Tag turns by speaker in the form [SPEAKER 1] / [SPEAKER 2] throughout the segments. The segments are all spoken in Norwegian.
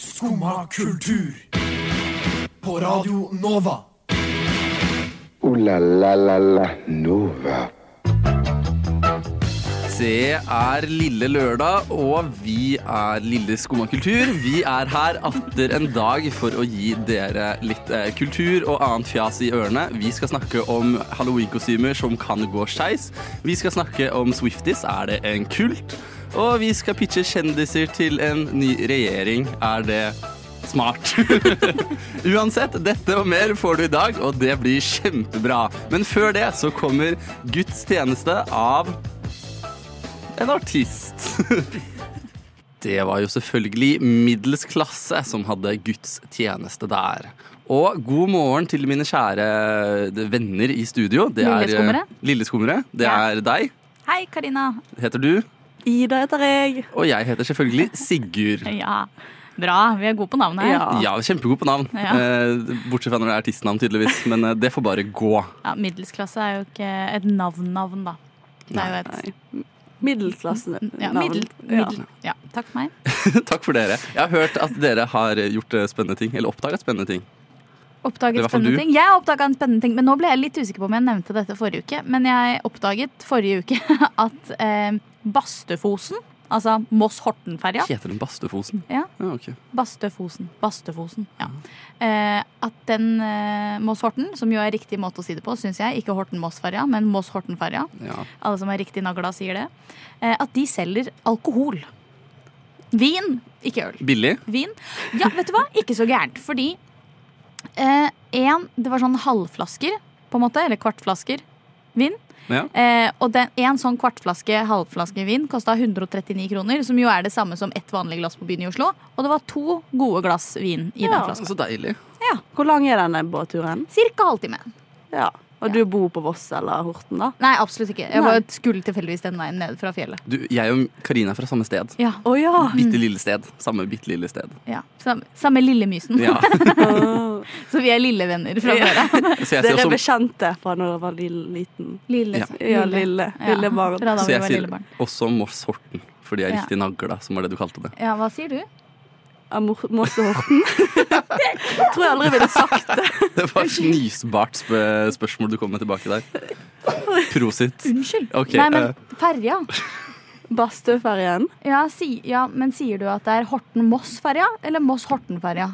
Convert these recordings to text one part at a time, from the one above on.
[SPEAKER 1] Skumma kultur. På Radio Nova.
[SPEAKER 2] Ooh la la la la Nova.
[SPEAKER 3] Det er lille lørdag, og vi er Lille Skumma kultur. Vi er her atter en dag for å gi dere litt eh, kultur og annet fjas i ørene. Vi skal snakke om halloweenkostymer som kan gå skeis. Vi skal snakke om Swifties. Er det en kult? Og vi skal pitche kjendiser til en ny regjering. Er det smart? Uansett, dette og mer får du i dag, og det blir kjempebra. Men før det så kommer Guds tjeneste av en artist. Det var jo selvfølgelig middels klasse som hadde Guds tjeneste der. Og god morgen til mine kjære eh, venner i studio. Det er- eh,
[SPEAKER 4] Lilleskummere.
[SPEAKER 3] Lilleskummere. Det
[SPEAKER 4] Ja.
[SPEAKER 3] er deg,
[SPEAKER 4] Hei, Karina.
[SPEAKER 3] heter du.
[SPEAKER 5] Ida heter jeg.
[SPEAKER 3] Og jeg heter selvfølgelig Sigurd.
[SPEAKER 4] Ja, bra. Vi er gode på navnet her.
[SPEAKER 5] Ja.
[SPEAKER 3] Ja, kjempegod på navn.
[SPEAKER 4] Ja.
[SPEAKER 3] Eh, Bortsett fra når det er artistnavn, tydeligvis. Men eh, det får bare gå.
[SPEAKER 4] Ja, middelsklasse er jo ikke et navn-navn, da. Det er jo et
[SPEAKER 5] Middelklassen.
[SPEAKER 4] ja,
[SPEAKER 5] navn.
[SPEAKER 4] middel, middel, ja. Takk for meg.
[SPEAKER 3] Takk for dere. Jeg har hørt at dere har gjort eh, spennende ting. Eller oppdaget spennende ting. Det
[SPEAKER 4] Oppdaget
[SPEAKER 3] var for du.
[SPEAKER 4] spennende ting. Jeg oppdaga en spennende ting, men nå ble jeg litt usikker på om jeg nevnte dette forrige uke. Men jeg oppdaget forrige uke at eh, Bastefosen, altså Moss-Horten-ferja
[SPEAKER 3] Heter den Bastefosen?
[SPEAKER 4] Ja.
[SPEAKER 3] ja ok.
[SPEAKER 4] Bastefosen. Bastefosen, ja. Eh, at den eh, Moss-Horten, som jo er riktig måte å si det på, syns jeg, ikke Horten-Moss-ferja, men Moss-Horten-ferja,
[SPEAKER 3] Ja.
[SPEAKER 4] alle som er riktig nagla sier det, eh, at de selger alkohol. Vin, ikke øl.
[SPEAKER 3] Billig?
[SPEAKER 4] Vin. Ja, vet du hva? Ikke så gærent. Fordi én, det var sånn halvflasker, på en måte, eller kvartflasker vin.
[SPEAKER 3] Ja.
[SPEAKER 4] Eh, og den, en sånn kvartflaske halvflaske vin kosta 139 kroner, som jo er det samme som ett vanlig glass på byen i Oslo. Og det var to gode glass vin i den
[SPEAKER 5] Ja.
[SPEAKER 4] flaska.
[SPEAKER 3] Så deilig.
[SPEAKER 5] Hvor lang er denne båtturen?
[SPEAKER 4] Cirka halvtime.
[SPEAKER 5] Ja. Og du bor på Voss eller Horten, da?
[SPEAKER 4] Nei, absolutt ikke. Jeg
[SPEAKER 5] Nei.
[SPEAKER 4] bare skulle tilfeldigvis den veien ned fra fjellet.
[SPEAKER 3] Du, jeg og Karina er fra samme sted.
[SPEAKER 4] Ja, Mm.
[SPEAKER 5] Å ja!
[SPEAKER 3] Bitte lille sted. Samme bitte lille sted.
[SPEAKER 4] ja. Samme, samme Lillemysen.
[SPEAKER 3] Ja.
[SPEAKER 4] Så vi er lillevenner fra før av.
[SPEAKER 3] Så jeg, sier
[SPEAKER 5] Dere er
[SPEAKER 3] også,
[SPEAKER 5] bekjente fra når dere var lille, liten.
[SPEAKER 4] Lille,
[SPEAKER 3] Ja.
[SPEAKER 5] Ja, lille.
[SPEAKER 4] Ja.
[SPEAKER 5] Lille barn.
[SPEAKER 4] Fra da
[SPEAKER 3] så
[SPEAKER 4] vi
[SPEAKER 3] jeg
[SPEAKER 4] var
[SPEAKER 3] sier
[SPEAKER 4] lille barn.
[SPEAKER 3] også Moss Horten, fordi jeg er
[SPEAKER 4] Ja.
[SPEAKER 3] riktig nagla, som var det du kalte det.
[SPEAKER 4] Ja, hva sier du?
[SPEAKER 5] Av Mor- Moss og Horten. Tror jeg aldri ville sagt det.
[SPEAKER 3] Det var et fnisbart sp spørsmål du kom med tilbake der. Prosit.
[SPEAKER 4] Unnskyld.
[SPEAKER 3] Ok,
[SPEAKER 4] Nei, men
[SPEAKER 3] eh.
[SPEAKER 4] ferja.
[SPEAKER 5] Bastøferien.
[SPEAKER 4] Ja, si, ja, men sier du at det er Horten-Moss-ferja eller Moss-Horten-ferja?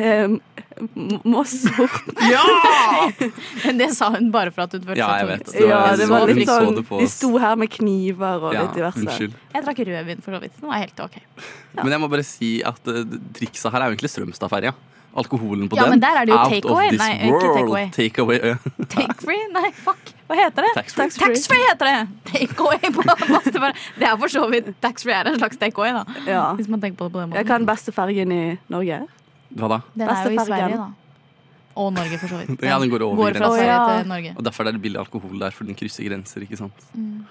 [SPEAKER 5] Eh, M- Moss og Horten.
[SPEAKER 3] Ja!
[SPEAKER 4] Det sa hun bare for at hun følte
[SPEAKER 3] Ja,
[SPEAKER 4] seg
[SPEAKER 3] jeg
[SPEAKER 4] tvunget.
[SPEAKER 3] vet. Det
[SPEAKER 5] Ja,
[SPEAKER 3] var,
[SPEAKER 5] det
[SPEAKER 3] så-
[SPEAKER 5] var
[SPEAKER 3] hun
[SPEAKER 5] litt
[SPEAKER 3] så
[SPEAKER 5] sånn
[SPEAKER 3] det på
[SPEAKER 5] De
[SPEAKER 3] oss.
[SPEAKER 5] sto her med kniver og
[SPEAKER 3] Ja,
[SPEAKER 5] litt diverse.
[SPEAKER 3] unnskyld.
[SPEAKER 4] Jeg drakk rødvin, for så vidt. Den var helt ok.
[SPEAKER 3] Men jeg må bare si at eh, trikset her er jo egentlig Strømstadferja. Alkoholen på
[SPEAKER 4] Ja,
[SPEAKER 3] den.
[SPEAKER 4] men der er det jo
[SPEAKER 3] out
[SPEAKER 4] takeaway.
[SPEAKER 3] of this
[SPEAKER 4] Nei, ikke
[SPEAKER 3] world.
[SPEAKER 4] takeaway.
[SPEAKER 3] Takeaway, ja.
[SPEAKER 4] Take-free? Nei, fuck. Hva heter det?
[SPEAKER 3] Taxfree.
[SPEAKER 4] Taxfree heter det! Take-away på Moss-ferja. Det er for så vidt Taxfree er en slags take-away, da.
[SPEAKER 5] Ja.
[SPEAKER 4] Hvis man tenker på det på den
[SPEAKER 5] Jeg
[SPEAKER 4] måten.
[SPEAKER 5] kan beste fergen i Norge.
[SPEAKER 3] Hva da?
[SPEAKER 4] Den er jo i
[SPEAKER 5] Beste fergen.
[SPEAKER 4] Sverige, da. Og Norge, for så vidt.
[SPEAKER 3] Ja, den går over
[SPEAKER 4] fra
[SPEAKER 3] grensen.
[SPEAKER 4] Sverige
[SPEAKER 5] Å, ja.
[SPEAKER 4] til Norge.
[SPEAKER 3] Og Derfor er det billig alkohol der, for den krysser grenser, ikke sant.
[SPEAKER 4] Mm.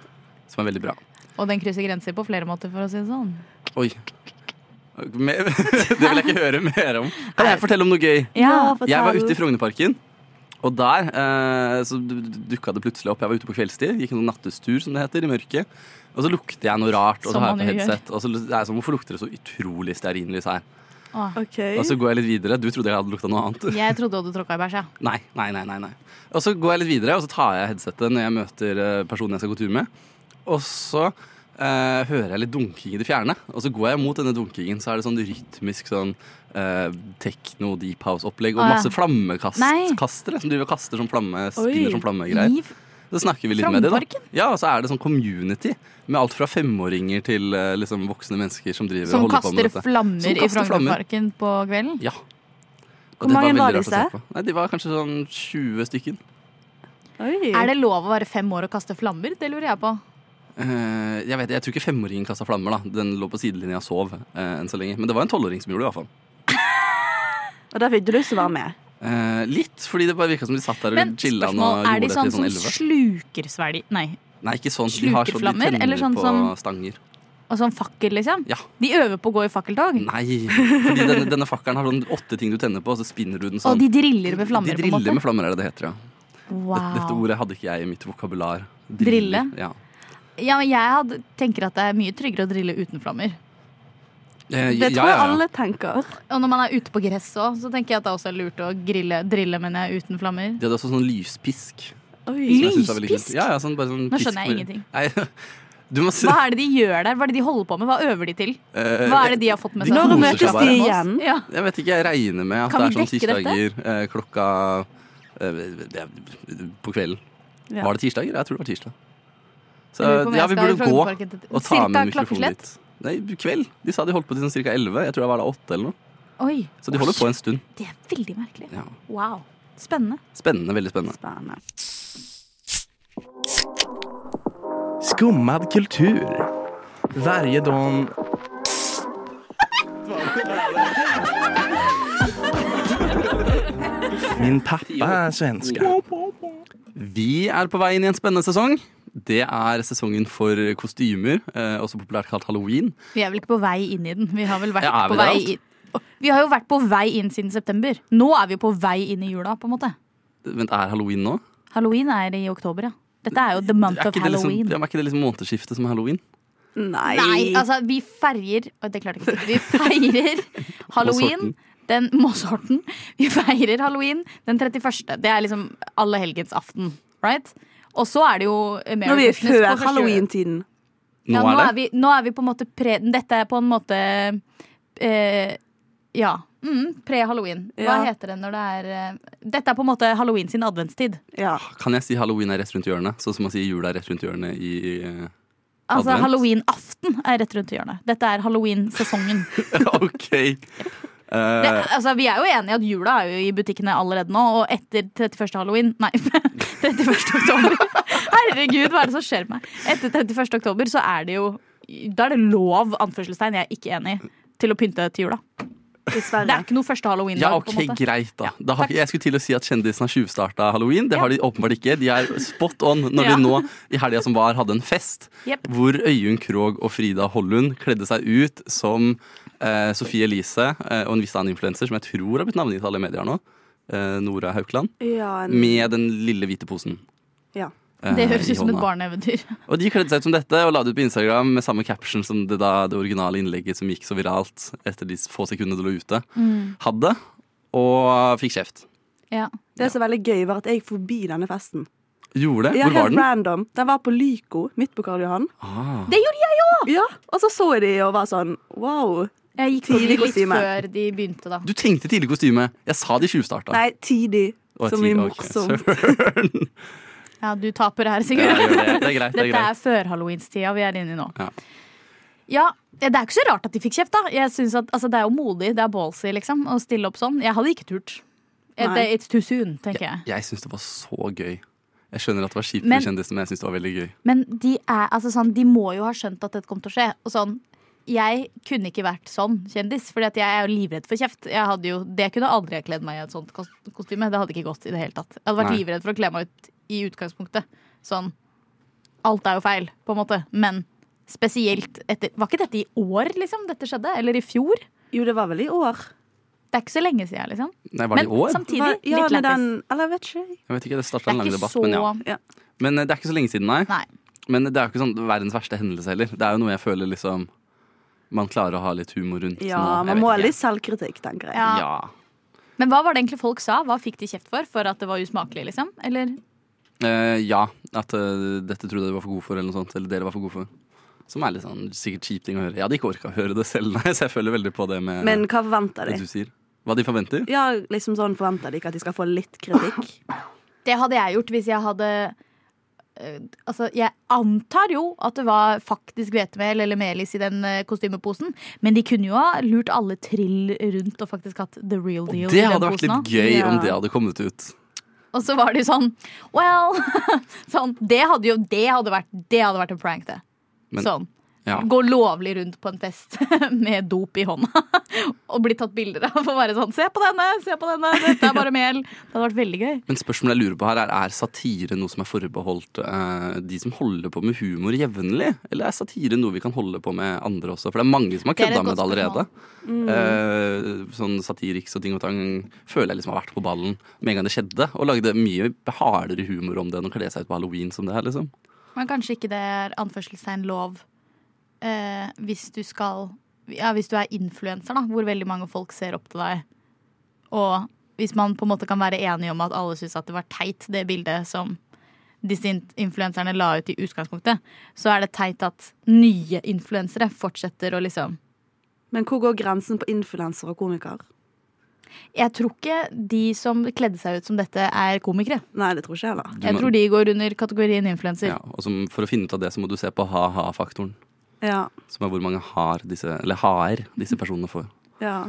[SPEAKER 3] Som er veldig bra.
[SPEAKER 4] Og den krysser grenser på flere måter, for å si det sånn.
[SPEAKER 3] Oi. Mer- Det vil jeg ikke høre mer om. Kan jeg fortelle om noe gøy?
[SPEAKER 4] Ja,
[SPEAKER 5] fortell.
[SPEAKER 3] Jeg var ute i Frognerparken, og der eh, så dukka det plutselig opp. Jeg var ute på kveldstid, gikk en nattestur som det heter, i mørket. Og så lukter jeg noe rart, og så
[SPEAKER 4] Som
[SPEAKER 3] har jeg
[SPEAKER 4] man
[SPEAKER 3] på
[SPEAKER 4] jo gjør.
[SPEAKER 3] headset. Og så det er sånn, hvorfor lukter det så utrolig stearinlys her?
[SPEAKER 4] Åh.
[SPEAKER 5] OK.
[SPEAKER 3] Og så går jeg litt videre. Du trodde jeg hadde lukta noe annet?
[SPEAKER 4] Jeg trodde du tråkka i bæsj, ja.
[SPEAKER 3] Nei, nei, nei, nei, nei. Og så går jeg litt videre, og så tar jeg headsetet når jeg møter eh, personen jeg skal gå tur med. Og så eh, hører jeg litt dunking i det fjerne, og så går jeg mot denne dunkingen. Så er det sånn rytmisk sånn eh, techno deep house-opplegg og
[SPEAKER 4] Å, ja.
[SPEAKER 3] masse
[SPEAKER 4] Nei.
[SPEAKER 3] flammekastere som driver og kaster som flamme, spinner
[SPEAKER 5] Oi.
[SPEAKER 3] som flammegreier.
[SPEAKER 4] Liv.
[SPEAKER 3] Så snakker vi litt med dem, da.
[SPEAKER 4] Frognerparken?
[SPEAKER 3] Ja, og så er det sånn community med alt fra femåringer til eh, liksom voksne mennesker som driver
[SPEAKER 4] Som
[SPEAKER 3] og holder på med
[SPEAKER 4] kaster
[SPEAKER 3] dette.
[SPEAKER 4] flammer
[SPEAKER 3] Som kaster
[SPEAKER 4] i Frognerparken på kvelden?
[SPEAKER 3] Ja. Og
[SPEAKER 5] Hvor
[SPEAKER 3] det
[SPEAKER 5] mange var
[SPEAKER 3] veldig
[SPEAKER 5] disse?
[SPEAKER 3] rart å se på. Nei, de var kanskje sånn 20 stykken.
[SPEAKER 5] Oi.
[SPEAKER 4] Er det lov å være fem år og kaste flammer? Det lurer jeg på.
[SPEAKER 3] Eh, jeg, vet, jeg tror ikke femåringen kasta flammer. da Den lå på sidelinja og sov. eh, enn så lenge Men det var en tolvåring som gjorde det. i hvert fall
[SPEAKER 5] Og der fikk du lyst til å være med.
[SPEAKER 3] Eh, Litt, fordi det bare virka som de satt der
[SPEAKER 4] Men
[SPEAKER 3] og chilla og
[SPEAKER 4] spørsmål, er
[SPEAKER 3] gjorde
[SPEAKER 4] de
[SPEAKER 3] det
[SPEAKER 4] sånn
[SPEAKER 3] til
[SPEAKER 4] som
[SPEAKER 3] sånn elleve.
[SPEAKER 4] sluker svelg... Nei,
[SPEAKER 3] Nei, ikke sånn. De har sånn de
[SPEAKER 4] slukerflammer,
[SPEAKER 3] tenner
[SPEAKER 4] eller sånn
[SPEAKER 3] på
[SPEAKER 4] som-
[SPEAKER 3] stanger.
[SPEAKER 4] og sånn fakkel, liksom?
[SPEAKER 3] Ja.
[SPEAKER 4] De øver på å gå i fakkeltog?
[SPEAKER 3] Nei, fordi denne, denne fakkelen har sånn åtte ting du tenner på, og så spinner du den sånn.
[SPEAKER 4] Og de driller med
[SPEAKER 3] De
[SPEAKER 4] flammer,
[SPEAKER 3] driller med
[SPEAKER 4] på en måte?
[SPEAKER 3] flammer, er det det heter, ja. Dette, dette
[SPEAKER 4] Wow.
[SPEAKER 3] ordet hadde ikke jeg i mitt vokabular.
[SPEAKER 4] Drille?
[SPEAKER 3] Ja.
[SPEAKER 4] Ja, men jeg hadde, tenker at det er mye tryggere å drille uten flammer.
[SPEAKER 3] Eh, ja,
[SPEAKER 5] Det tror jeg
[SPEAKER 3] ja, ja.
[SPEAKER 5] alle tenker.
[SPEAKER 4] Og når man er ute på gresset òg, så tenker jeg at det er også lurt å grille, drille men jeg er uten flammer.
[SPEAKER 3] De hadde også sånn lyspisk. som
[SPEAKER 5] Oi.
[SPEAKER 3] jeg synes er veldig kult.
[SPEAKER 4] Lyspisk?
[SPEAKER 3] Ja, ja, sånn, bare sånn
[SPEAKER 4] Nå
[SPEAKER 3] pisk
[SPEAKER 4] skjønner jeg
[SPEAKER 3] med-
[SPEAKER 4] ingenting.
[SPEAKER 3] Nei, du må se
[SPEAKER 4] Hva er det de gjør der? Hva er det de holder på med? Hva øver de til? Hva er det de har fått med
[SPEAKER 3] Eh, de
[SPEAKER 4] seg? Mm.
[SPEAKER 5] Når
[SPEAKER 3] koser seg
[SPEAKER 5] møtes de
[SPEAKER 3] bare.
[SPEAKER 5] igjen?
[SPEAKER 4] Ja.
[SPEAKER 3] Jeg vet ikke, jeg regner med at
[SPEAKER 4] Kan
[SPEAKER 3] det er
[SPEAKER 4] vi
[SPEAKER 3] sånn
[SPEAKER 4] dekke dette?
[SPEAKER 3] tirsdager eh, klokka eh, det er på kvelden.
[SPEAKER 5] Ja.
[SPEAKER 3] Var det tirsdager? Jeg tror det var tirsdag. Så
[SPEAKER 4] Jeg lurer på om
[SPEAKER 3] ja,
[SPEAKER 4] jeg
[SPEAKER 3] vi
[SPEAKER 4] skal i
[SPEAKER 3] burde gå og
[SPEAKER 4] Frognerparken til-
[SPEAKER 3] ta
[SPEAKER 4] Cirka
[SPEAKER 3] med mikrofonen
[SPEAKER 4] klokkeslett?
[SPEAKER 3] dit. Nei, kveld. De sa de holdt på til sånn ca. 11. Jeg tror jeg var da 8 eller noe.
[SPEAKER 4] Oi,
[SPEAKER 3] Så de holder på en stund.
[SPEAKER 4] det er veldig merkelig.
[SPEAKER 3] Ja.
[SPEAKER 4] Wow. Spennende.
[SPEAKER 3] Spennende, veldig spennende.
[SPEAKER 5] Spennende.
[SPEAKER 6] Skummad kultur. Varje dag... Min pappa är svenska.
[SPEAKER 3] Vi er på vei inn i en spennende sesong. Det er sesongen for kostymer, eh, også populært kalt halloween.
[SPEAKER 4] Vi er vel ikke på vei inn i den. Vi har vel vært
[SPEAKER 3] Ja, er vi
[SPEAKER 4] på
[SPEAKER 3] der
[SPEAKER 4] vei
[SPEAKER 3] alt?
[SPEAKER 4] inn. Vi har jo vært på vei inn siden september. Nå er vi jo på vei inn i jula, på en måte.
[SPEAKER 3] Vent, er halloween nå?
[SPEAKER 4] Halloween er i oktober, ja. Dette er jo the month
[SPEAKER 3] Er
[SPEAKER 4] of
[SPEAKER 3] ikke det liksom,
[SPEAKER 4] halloween.
[SPEAKER 3] ja, men er ikke det liksom månedsskiftet som er halloween?
[SPEAKER 5] Nei.
[SPEAKER 4] Nei, altså, vi feirer Oi, det klarte jeg ikke. Vi feirer halloween.
[SPEAKER 3] Måshorten.
[SPEAKER 4] Den Måshorten. Vi feirer halloween den 31. Det er liksom allehelgensaften, right? Og så er det jo Merry
[SPEAKER 5] Når vi er
[SPEAKER 4] Christmas på
[SPEAKER 5] før
[SPEAKER 4] første-
[SPEAKER 5] halloween-tiden.
[SPEAKER 3] Nå
[SPEAKER 4] ja, nå,
[SPEAKER 3] er det.
[SPEAKER 4] er vi, nå er vi på en måte pre Dette er på en måte eh, Ja. Mm, Pre-halloween. Hva
[SPEAKER 5] Ja.
[SPEAKER 4] heter det når det er eh, Dette er på en måte halloween sin adventstid.
[SPEAKER 5] Ja.
[SPEAKER 3] Kan jeg si halloween er rett rundt hjørnet? Sånn som man sier jula er rett rundt hjørnet i eh,
[SPEAKER 4] Altså
[SPEAKER 3] Advent.
[SPEAKER 4] halloweenaften er rett rundt hjørnet. Dette er halloweensesongen.
[SPEAKER 3] OK. Eh,
[SPEAKER 4] Det, altså, vi er jo enige at jula er jo i butikkene allerede nå, og etter 31. halloween Nei, 31. oktober. Herregud, hva er det som skjer med meg? Etter 31. oktober så er det jo Da er det lov, anførselstegn, jeg er ikke enig i, til å pynte til jula. Det er
[SPEAKER 5] Dessverre.
[SPEAKER 4] ikke noe første halloween-dag.
[SPEAKER 3] ja,
[SPEAKER 4] på
[SPEAKER 3] OK,
[SPEAKER 4] en måte.
[SPEAKER 3] greit, da. da har, ikke- jeg skulle til å si at kjendisen har tjuvstarta halloween. Det har de åpenbart ikke. De er spot on når
[SPEAKER 4] Ja.
[SPEAKER 3] de nå i helga som var, hadde en fest
[SPEAKER 4] Jepp.
[SPEAKER 3] hvor Øyunn Krogh og Frida Hollund kledde seg ut som eh, Sofie Elise eh, og en viss annen influenser som jeg tror har blitt navngitt i alle medier nå. Eh, Nora Haukeland.
[SPEAKER 5] Ja, en,
[SPEAKER 3] Med den lille hvite posen.
[SPEAKER 5] ja.
[SPEAKER 3] eh,
[SPEAKER 4] Det høres
[SPEAKER 3] i
[SPEAKER 4] ut som et
[SPEAKER 3] hånda.
[SPEAKER 4] barneeventyr.
[SPEAKER 3] Og de kledde seg ut som dette og la det ut på Instagram med samme caption som det, da, det originale innlegget som gikk så viralt etter de få sekundene det lå ute,
[SPEAKER 4] Mm.
[SPEAKER 3] hadde. Og fikk kjeft.
[SPEAKER 4] Ja.
[SPEAKER 5] Det som er veldig gøy, var at jeg gikk forbi denne festen.
[SPEAKER 3] Gjorde det?
[SPEAKER 5] Ja,
[SPEAKER 3] Hvor var
[SPEAKER 5] helt
[SPEAKER 3] den?
[SPEAKER 5] random. Den var på Lyco, midt på Karl Johan.
[SPEAKER 3] Ah.
[SPEAKER 4] Det gjorde jeg òg!
[SPEAKER 5] Ja, Og så så jeg de og var sånn wow.
[SPEAKER 4] Jeg gikk
[SPEAKER 5] Tidlig
[SPEAKER 4] forbi litt
[SPEAKER 5] kostyme.
[SPEAKER 4] før de begynte, da.
[SPEAKER 3] Du tenkte tidlig kostyme. Jeg sa de tjuvstarta.
[SPEAKER 5] Nei, tidig.
[SPEAKER 3] Og
[SPEAKER 5] Som
[SPEAKER 3] ti-
[SPEAKER 5] i
[SPEAKER 3] ok,
[SPEAKER 5] morsom.
[SPEAKER 3] søren.
[SPEAKER 4] Ja, du taper her,
[SPEAKER 3] Ja,
[SPEAKER 4] Sigurd.
[SPEAKER 3] jeg gjør det. Det er greit. Det er
[SPEAKER 4] Dette
[SPEAKER 3] greit.
[SPEAKER 4] er før-halloweenstida vi er inne i nå.
[SPEAKER 3] Ja.
[SPEAKER 4] Ja, Det er ikke så rart at de fikk kjeft. da Jeg synes at, altså, Det er jo modig, det er ballsy liksom, å stille opp sånn. Jeg hadde ikke turt. Eh,
[SPEAKER 5] Nei.
[SPEAKER 4] Det, it's too soon, tenker jeg.
[SPEAKER 3] Jeg syns det var så gøy. Jeg skjønner at det var kjipt
[SPEAKER 4] Men-
[SPEAKER 3] for kjendisene, men jeg syns det var veldig gøy.
[SPEAKER 4] Men de, er, altså, sånn, de må jo ha skjønt at dette kom til å skje. Og sånn, jeg kunne ikke vært sånn kjendis, Fordi at jeg er jo livredd for kjeft. Jeg hadde jo, det kunne aldri ha kledd meg i et sånt kos- kostyme. Det hadde ikke gått i det hele tatt. Jeg hadde vært
[SPEAKER 3] Nei.
[SPEAKER 4] livredd for å kle meg ut i utgangspunktet. Sånn, Alt er jo feil, på en måte. Men spesielt etter Var ikke dette i år, liksom? Dette skjedde? Eller i fjor?
[SPEAKER 5] Jo, det var vel i år.
[SPEAKER 4] Det er ikke så lenge siden, liksom.
[SPEAKER 3] Nei, var det
[SPEAKER 4] Men
[SPEAKER 3] i år?
[SPEAKER 4] samtidig
[SPEAKER 5] Var, ja,
[SPEAKER 4] litt
[SPEAKER 5] med
[SPEAKER 4] lættis.
[SPEAKER 5] den Eller jeg vet ikke.
[SPEAKER 3] Jeg vet ikke, Det starta
[SPEAKER 4] Det
[SPEAKER 3] en
[SPEAKER 4] er
[SPEAKER 3] lang
[SPEAKER 4] ikke
[SPEAKER 3] debatt,
[SPEAKER 4] så
[SPEAKER 3] men ja.
[SPEAKER 5] Ja.
[SPEAKER 3] Men eh, det er ikke så lenge siden, nei.
[SPEAKER 4] Nei.
[SPEAKER 3] Men det er jo ikke sånn verdens verste hendelse heller. Det er jo noe jeg føler liksom man klarer å ha litt humor rundt.
[SPEAKER 5] ja,
[SPEAKER 3] nå. Jeg
[SPEAKER 5] man
[SPEAKER 3] vet
[SPEAKER 5] må ha
[SPEAKER 3] ikke.
[SPEAKER 5] litt selvkritikk, tenker jeg.
[SPEAKER 4] Ja.
[SPEAKER 3] Ja.
[SPEAKER 4] Men hva var det egentlig folk sa? Hva fikk de kjeft for? For at det var usmakelig, liksom? Eller
[SPEAKER 3] Eh, ja. At eh, dette trodde jeg du var for god for, eller noe sånt. Eller dere var for gode for. Som er litt sånn sikkert kjip ting å høre. Jeg hadde ikke orka å høre det selv, nei, så jeg føler veldig på det med
[SPEAKER 5] Men hva forventer
[SPEAKER 3] det du
[SPEAKER 5] de?
[SPEAKER 3] sier. Hva de forventer?
[SPEAKER 5] Ja, liksom sånn forventer de ikke at de skal få litt kritikk.
[SPEAKER 4] Det hadde jeg gjort hvis jeg hadde eh, Altså, jeg antar jo at det var faktisk hvetemel eller melis i den eh, kostymeposen, men de kunne jo ha lurt alle trill rundt og faktisk hatt the real
[SPEAKER 3] Og
[SPEAKER 4] deal.
[SPEAKER 3] det
[SPEAKER 4] i den
[SPEAKER 3] hadde vært
[SPEAKER 4] posen
[SPEAKER 3] litt
[SPEAKER 4] også.
[SPEAKER 3] gøy om
[SPEAKER 5] Ja.
[SPEAKER 3] det hadde kommet ut.
[SPEAKER 4] Og så var det jo sånn Well! sånn, det hadde jo det hadde vært, det hadde vært en prank, det.
[SPEAKER 3] Men-
[SPEAKER 4] sånn.
[SPEAKER 3] Ja.
[SPEAKER 4] Gå lovlig rundt på en fest med dop i hånda og bli tatt bilder av og være sånn 'Se på denne! Se på denne! Dette er bare mel!' Det hadde vært veldig gøy.
[SPEAKER 3] Men spørsmålet jeg lurer på her er er satire noe som er forbeholdt eh, de som holder på med humor jevnlig? Eller er satire noe vi kan holde på med andre også? For det er mange som har
[SPEAKER 4] Det er et
[SPEAKER 3] kødda med det
[SPEAKER 4] godt Mm.
[SPEAKER 3] allerede. Eh, sånn Satiriks og ting og tang føler jeg liksom har vært på ballen med en gang det skjedde. Og lagde mye hardere humor om det enn å kle seg ut på halloween som det her, liksom.
[SPEAKER 4] Men kanskje ikke det er anførselstegn lov eh, hvis du skal ja, hvis du er influenser, da, hvor veldig mange folk ser opp til deg. Og hvis man på en måte kan være enig om at alle syns at det var teit, det bildet som disse in- influenserne la ut i utgangspunktet, så er det teit at nye influensere fortsetter å liksom
[SPEAKER 5] Men hvor går grensen på influenser og komiker?
[SPEAKER 4] Jeg tror ikke de som kledde seg ut som dette, er komikere.
[SPEAKER 5] Nei, det tror ikke jeg heller.
[SPEAKER 3] Du
[SPEAKER 4] Jeg
[SPEAKER 3] må-
[SPEAKER 4] tror de går under kategorien influenser.
[SPEAKER 3] Ja, og som, for å finne ut av det, så må du se på ha-ha-faktoren.
[SPEAKER 5] Ja,
[SPEAKER 3] Som er hvor mange har disse, eller har disse personene får.
[SPEAKER 5] ja.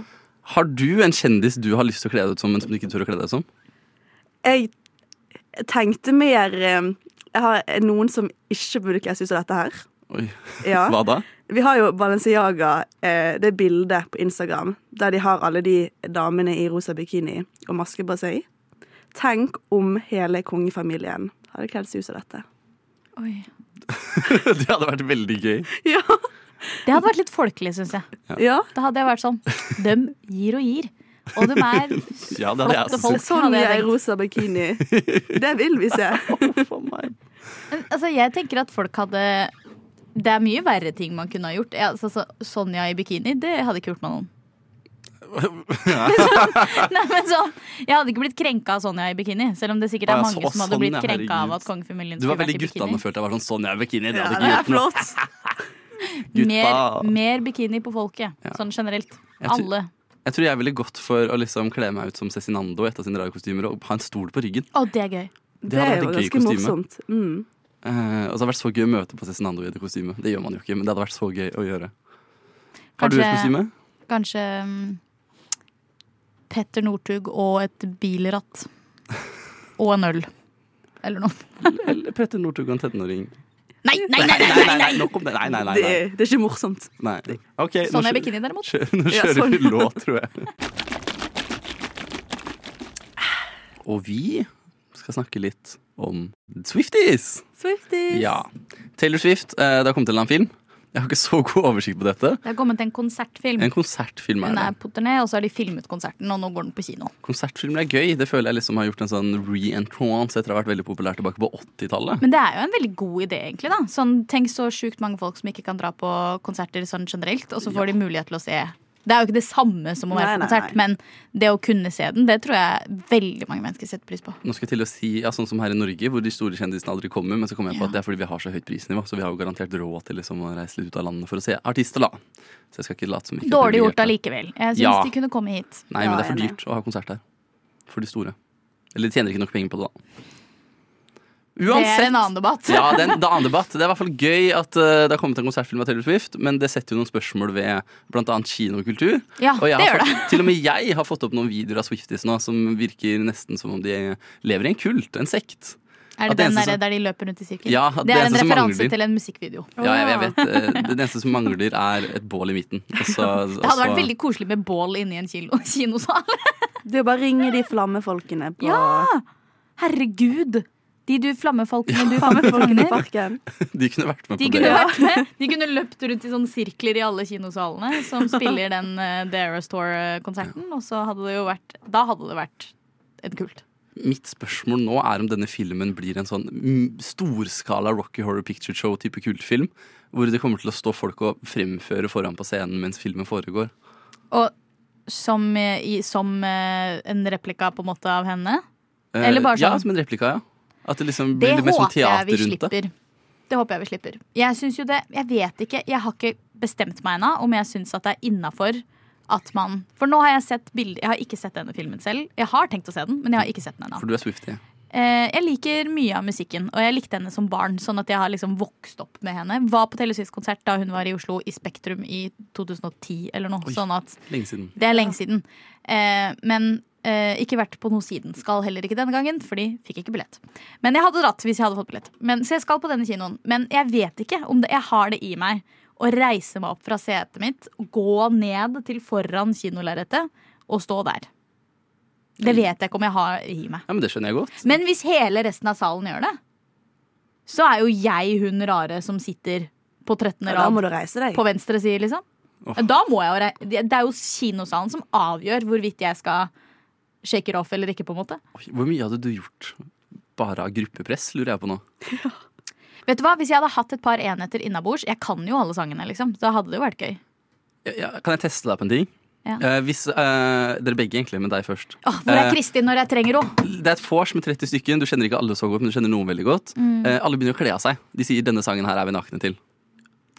[SPEAKER 3] Har du en kjendis du har lyst til å kle deg ut som, men som du ikke tør å kle deg ut som?
[SPEAKER 5] Jeg tenkte mer eh, Jeg har noen som ikke burde kles ut som dette her.
[SPEAKER 3] Oi,
[SPEAKER 5] Ja.
[SPEAKER 3] Hva da?
[SPEAKER 5] Vi har jo Balenciaga, eh, det bildet på Instagram der de har alle de damene i rosa bikini og maske på seg. Tenk om hele kongefamilien hadde kledd seg ut som dette.
[SPEAKER 4] Oi.
[SPEAKER 3] Det hadde vært veldig gøy.
[SPEAKER 5] Ja.
[SPEAKER 4] Det hadde vært litt folkelig, syns jeg.
[SPEAKER 5] ja.
[SPEAKER 4] Da hadde jeg vært sånn Døm gir og gir. Og de er
[SPEAKER 3] Ja, det hadde jeg
[SPEAKER 4] flotte
[SPEAKER 3] også
[SPEAKER 4] folk.
[SPEAKER 3] syntes.
[SPEAKER 4] hadde
[SPEAKER 5] Sonja i
[SPEAKER 4] tenkt.
[SPEAKER 5] rosa bikini. Det vil vi se.
[SPEAKER 4] Men, altså, jeg tenker at folk hadde Det er mye verre ting man kunne ha gjort. Ja, altså, så, Sonja i bikini, det hadde ikke gjort meg noen. Nei, men sånn, jeg hadde ikke blitt krenka av Sonja i bikini, selv om det sikkert
[SPEAKER 3] Å,
[SPEAKER 4] er
[SPEAKER 3] ja,
[SPEAKER 4] mange
[SPEAKER 3] så-
[SPEAKER 4] som hadde
[SPEAKER 3] sånn,
[SPEAKER 4] blitt
[SPEAKER 3] ja,
[SPEAKER 4] krenka
[SPEAKER 3] herregud.
[SPEAKER 4] av at kongefamilien
[SPEAKER 3] Du var
[SPEAKER 4] skulle vært
[SPEAKER 3] veldig
[SPEAKER 4] i
[SPEAKER 3] guttene
[SPEAKER 4] bikini.
[SPEAKER 3] følt jeg var sånn Sonja i bikini. Det
[SPEAKER 5] Ja,
[SPEAKER 3] hadde ikke
[SPEAKER 5] det er
[SPEAKER 3] gjort noe.
[SPEAKER 5] flott.
[SPEAKER 3] Gutta.
[SPEAKER 4] Mer, mer bikini på folket,
[SPEAKER 3] Ja.
[SPEAKER 4] sånn generelt.
[SPEAKER 3] Jeg tror-
[SPEAKER 4] Alle.
[SPEAKER 3] Jeg tror jeg ville gått for å liksom kle meg ut som Cezinando i et av sine rare kostymer og ha en stol på ryggen.
[SPEAKER 4] Å, det er gøy.
[SPEAKER 5] Det,
[SPEAKER 3] hadde
[SPEAKER 5] er
[SPEAKER 3] vært
[SPEAKER 5] jo
[SPEAKER 3] et gøy
[SPEAKER 5] ganske
[SPEAKER 3] kostyme.
[SPEAKER 5] morsomt. Mm.
[SPEAKER 3] Eh, og så hadde det vært så gøy å møte på Cezinando i det kostymet. Det gjør man jo ikke, men det hadde vært så gøy å gjøre. Har du et
[SPEAKER 4] Kanskje-
[SPEAKER 3] kostyme?
[SPEAKER 4] Kanskje mm, Petter Northug og et bilratt. Og en øl. Eller noe.
[SPEAKER 3] Eller Petter Northug og en 13-åring?
[SPEAKER 4] Nei, nei, nei! nei, nei, nei.
[SPEAKER 3] Nok om det. Nei, nei, nei.
[SPEAKER 5] Det,
[SPEAKER 3] nei.
[SPEAKER 5] det er ikke morsomt.
[SPEAKER 3] nei. Ok, nå
[SPEAKER 4] Sånn er
[SPEAKER 3] kjører-
[SPEAKER 4] bikini, derimot.
[SPEAKER 3] kjører- Nå
[SPEAKER 5] Ja,
[SPEAKER 3] kjører vi
[SPEAKER 5] sånn.
[SPEAKER 3] låt, tror jeg. Og vi skal snakke litt om Swifties.
[SPEAKER 5] Swifties.
[SPEAKER 3] Ja. Taylor Swift, eh, det har kommet til en eller annen film. Jeg har ikke så god oversikt på dette.
[SPEAKER 4] Det har kommet en konsertfilm.
[SPEAKER 3] En konsertfilm er
[SPEAKER 4] Hun er
[SPEAKER 3] det.
[SPEAKER 4] på turné, og så har de filmet konserten, og nå går den på kino.
[SPEAKER 3] Konsertfilmer er gøy. Det føler jeg liksom har gjort en sånn re-entrance etter å ha vært veldig populær tilbake på 80-tallet.
[SPEAKER 4] Men det er jo en veldig god idé, egentlig. da sånn, Tenk så sjukt mange folk som ikke kan dra på konserter sånn generelt, og så får de mulighet til å se. Det er jo ikke det samme som å være
[SPEAKER 5] Nei,
[SPEAKER 4] på
[SPEAKER 5] nei,
[SPEAKER 4] konsert,
[SPEAKER 5] nei.
[SPEAKER 4] men det å kunne se den, det tror jeg veldig mange mennesker setter pris på.
[SPEAKER 3] Nå skal jeg til å si, ja, sånn som her i Norge, hvor de store kjendisene aldri kommer, men så kommer jeg på
[SPEAKER 4] Ja.
[SPEAKER 3] at det er fordi vi har så høyt prisnivå, så vi har jo garantert råd til liksom å reise litt ut av landet for å se artister, da. Så jeg skal ikke late som vi ikke er
[SPEAKER 4] Dårlig gjort
[SPEAKER 3] privilegerte.
[SPEAKER 4] allikevel. Jeg syns
[SPEAKER 3] Ja.
[SPEAKER 4] de kunne komme hit.
[SPEAKER 3] Nei, men
[SPEAKER 5] Ja,
[SPEAKER 3] det er for
[SPEAKER 5] jeg er
[SPEAKER 3] dyrt å ha konsert her. For de store. Eller de tjener ikke nok penger på det, da.
[SPEAKER 4] Det er en annen debatt.
[SPEAKER 3] Ja, det er en det er en annen debatt. Det er i hvert fall gøy at eh, det har kommet en konsertfilm av Taylor Swift, men det setter jo noen spørsmål ved bl.a. kinokultur.
[SPEAKER 4] Ja,
[SPEAKER 3] og jeg
[SPEAKER 4] det
[SPEAKER 3] har
[SPEAKER 4] gjør
[SPEAKER 3] fått, til og med jeg har fått opp noen videoer av Swifties nå som virker nesten som om de lever i en kult, en sekt.
[SPEAKER 4] Er
[SPEAKER 3] At
[SPEAKER 4] det
[SPEAKER 3] det
[SPEAKER 4] den
[SPEAKER 3] eneste
[SPEAKER 4] der,
[SPEAKER 3] som-
[SPEAKER 4] der de løper rundt i sirkel?
[SPEAKER 3] Ja,
[SPEAKER 4] det,
[SPEAKER 3] det
[SPEAKER 4] er en
[SPEAKER 3] eneste som
[SPEAKER 4] referanse
[SPEAKER 3] mangler.
[SPEAKER 4] til en musikkvideo.
[SPEAKER 3] Ja, jeg, jeg vet. eh, Det eneste som mangler, er et bål i midten. Altså, Og så- og
[SPEAKER 4] Det hadde vært
[SPEAKER 3] så-
[SPEAKER 4] veldig koselig med bål inni en kilo, kinosal.
[SPEAKER 5] Det er bare å ringe de flammefolkene på
[SPEAKER 4] Ja, Herregud! De du flammefolkene du flammefolkene
[SPEAKER 5] Flammefolkene i parken.
[SPEAKER 3] De kunne vært med
[SPEAKER 4] de
[SPEAKER 3] på
[SPEAKER 4] kunne
[SPEAKER 3] det.
[SPEAKER 4] vært med. De kunne løpt rundt i sånne sirkler i alle kinosalene som spiller den eh, The Eras Tour-konserten, og så hadde det jo vært Da hadde det vært en kult.
[SPEAKER 3] Mitt spørsmål nå er om denne filmen blir en sånn mm, storskala Rocky Horror Picture Show-type kultfilm. Hvor det kommer til å stå folk og fremføre foran på scenen mens filmen foregår.
[SPEAKER 4] Og som, eh, i, som eh, en replika på en måte av henne.
[SPEAKER 3] Eh,
[SPEAKER 4] Eller bare
[SPEAKER 3] Ja,
[SPEAKER 4] sånn.
[SPEAKER 3] som en replika, ja. At det liksom
[SPEAKER 4] Det
[SPEAKER 3] blir litt mer sånn
[SPEAKER 4] håper jeg
[SPEAKER 3] teater
[SPEAKER 4] vi
[SPEAKER 3] rundt det.
[SPEAKER 4] slipper. Det håper jeg vi slipper. Jeg syns jo det Jeg vet ikke. Jeg har ikke bestemt meg ennå om jeg syns at det er innafor at man For nå har jeg sett bilder Jeg har ikke sett denne filmen selv. Jeg har tenkt å se den, men jeg har ikke sett den ennå.
[SPEAKER 3] For du er Swiftie.
[SPEAKER 4] Eh, jeg liker mye av musikken, og jeg likte henne som barn. Sånn at jeg har liksom vokst opp med henne. Var på Taylor Swift-konsert da hun var i Oslo, i Spektrum, i 2010 eller noe.
[SPEAKER 3] Oi.
[SPEAKER 4] Sånn at
[SPEAKER 3] Lenge siden.
[SPEAKER 4] det er lenge siden. Eh, men eh, ikke vært på noe siden. Skal heller ikke denne gangen, fordi fikk ikke billett. Men jeg hadde dratt hvis jeg hadde fått billett. Men, så jeg skal på denne kinoen. Men jeg vet ikke om det, jeg har det i meg å reise meg opp fra setet mitt, gå ned til foran kinolerretet og stå der. Det
[SPEAKER 5] Mm.
[SPEAKER 4] vet jeg ikke om jeg har i meg.
[SPEAKER 3] Ja, men det skjønner jeg godt.
[SPEAKER 4] Men hvis hele resten av salen gjør det, så er jo jeg hun rare som sitter på 13.
[SPEAKER 5] Da
[SPEAKER 4] rad
[SPEAKER 5] må du reise deg.
[SPEAKER 4] på venstre side, liksom.
[SPEAKER 3] Åh.
[SPEAKER 4] Da må jeg jo rei- Det det er jo kinosalen som avgjør hvorvidt jeg skal shake it off eller ikke. på en måte
[SPEAKER 3] Oi, Hvor mye hadde du gjort bare av gruppepress, lurer jeg på nå.
[SPEAKER 4] Vet du hva, Hvis jeg hadde hatt et par enheter innabords Jeg kan jo alle sangene, liksom. Da hadde det jo vært gøy.
[SPEAKER 3] Ja, kan jeg teste deg på en ting?
[SPEAKER 4] Ja.
[SPEAKER 3] Eh, hvis, eh, dere begge, egentlig, men deg først.
[SPEAKER 4] Åh, hvor er
[SPEAKER 3] Eh,
[SPEAKER 4] Kristin når jeg trenger henne?
[SPEAKER 3] det er et vors med 30 stykken. Du kjenner ikke alle så godt, men du kjenner noen veldig godt.
[SPEAKER 4] Mm.
[SPEAKER 3] Eh, alle begynner å kle av seg. De sier 'denne sangen her er vi nakne til'.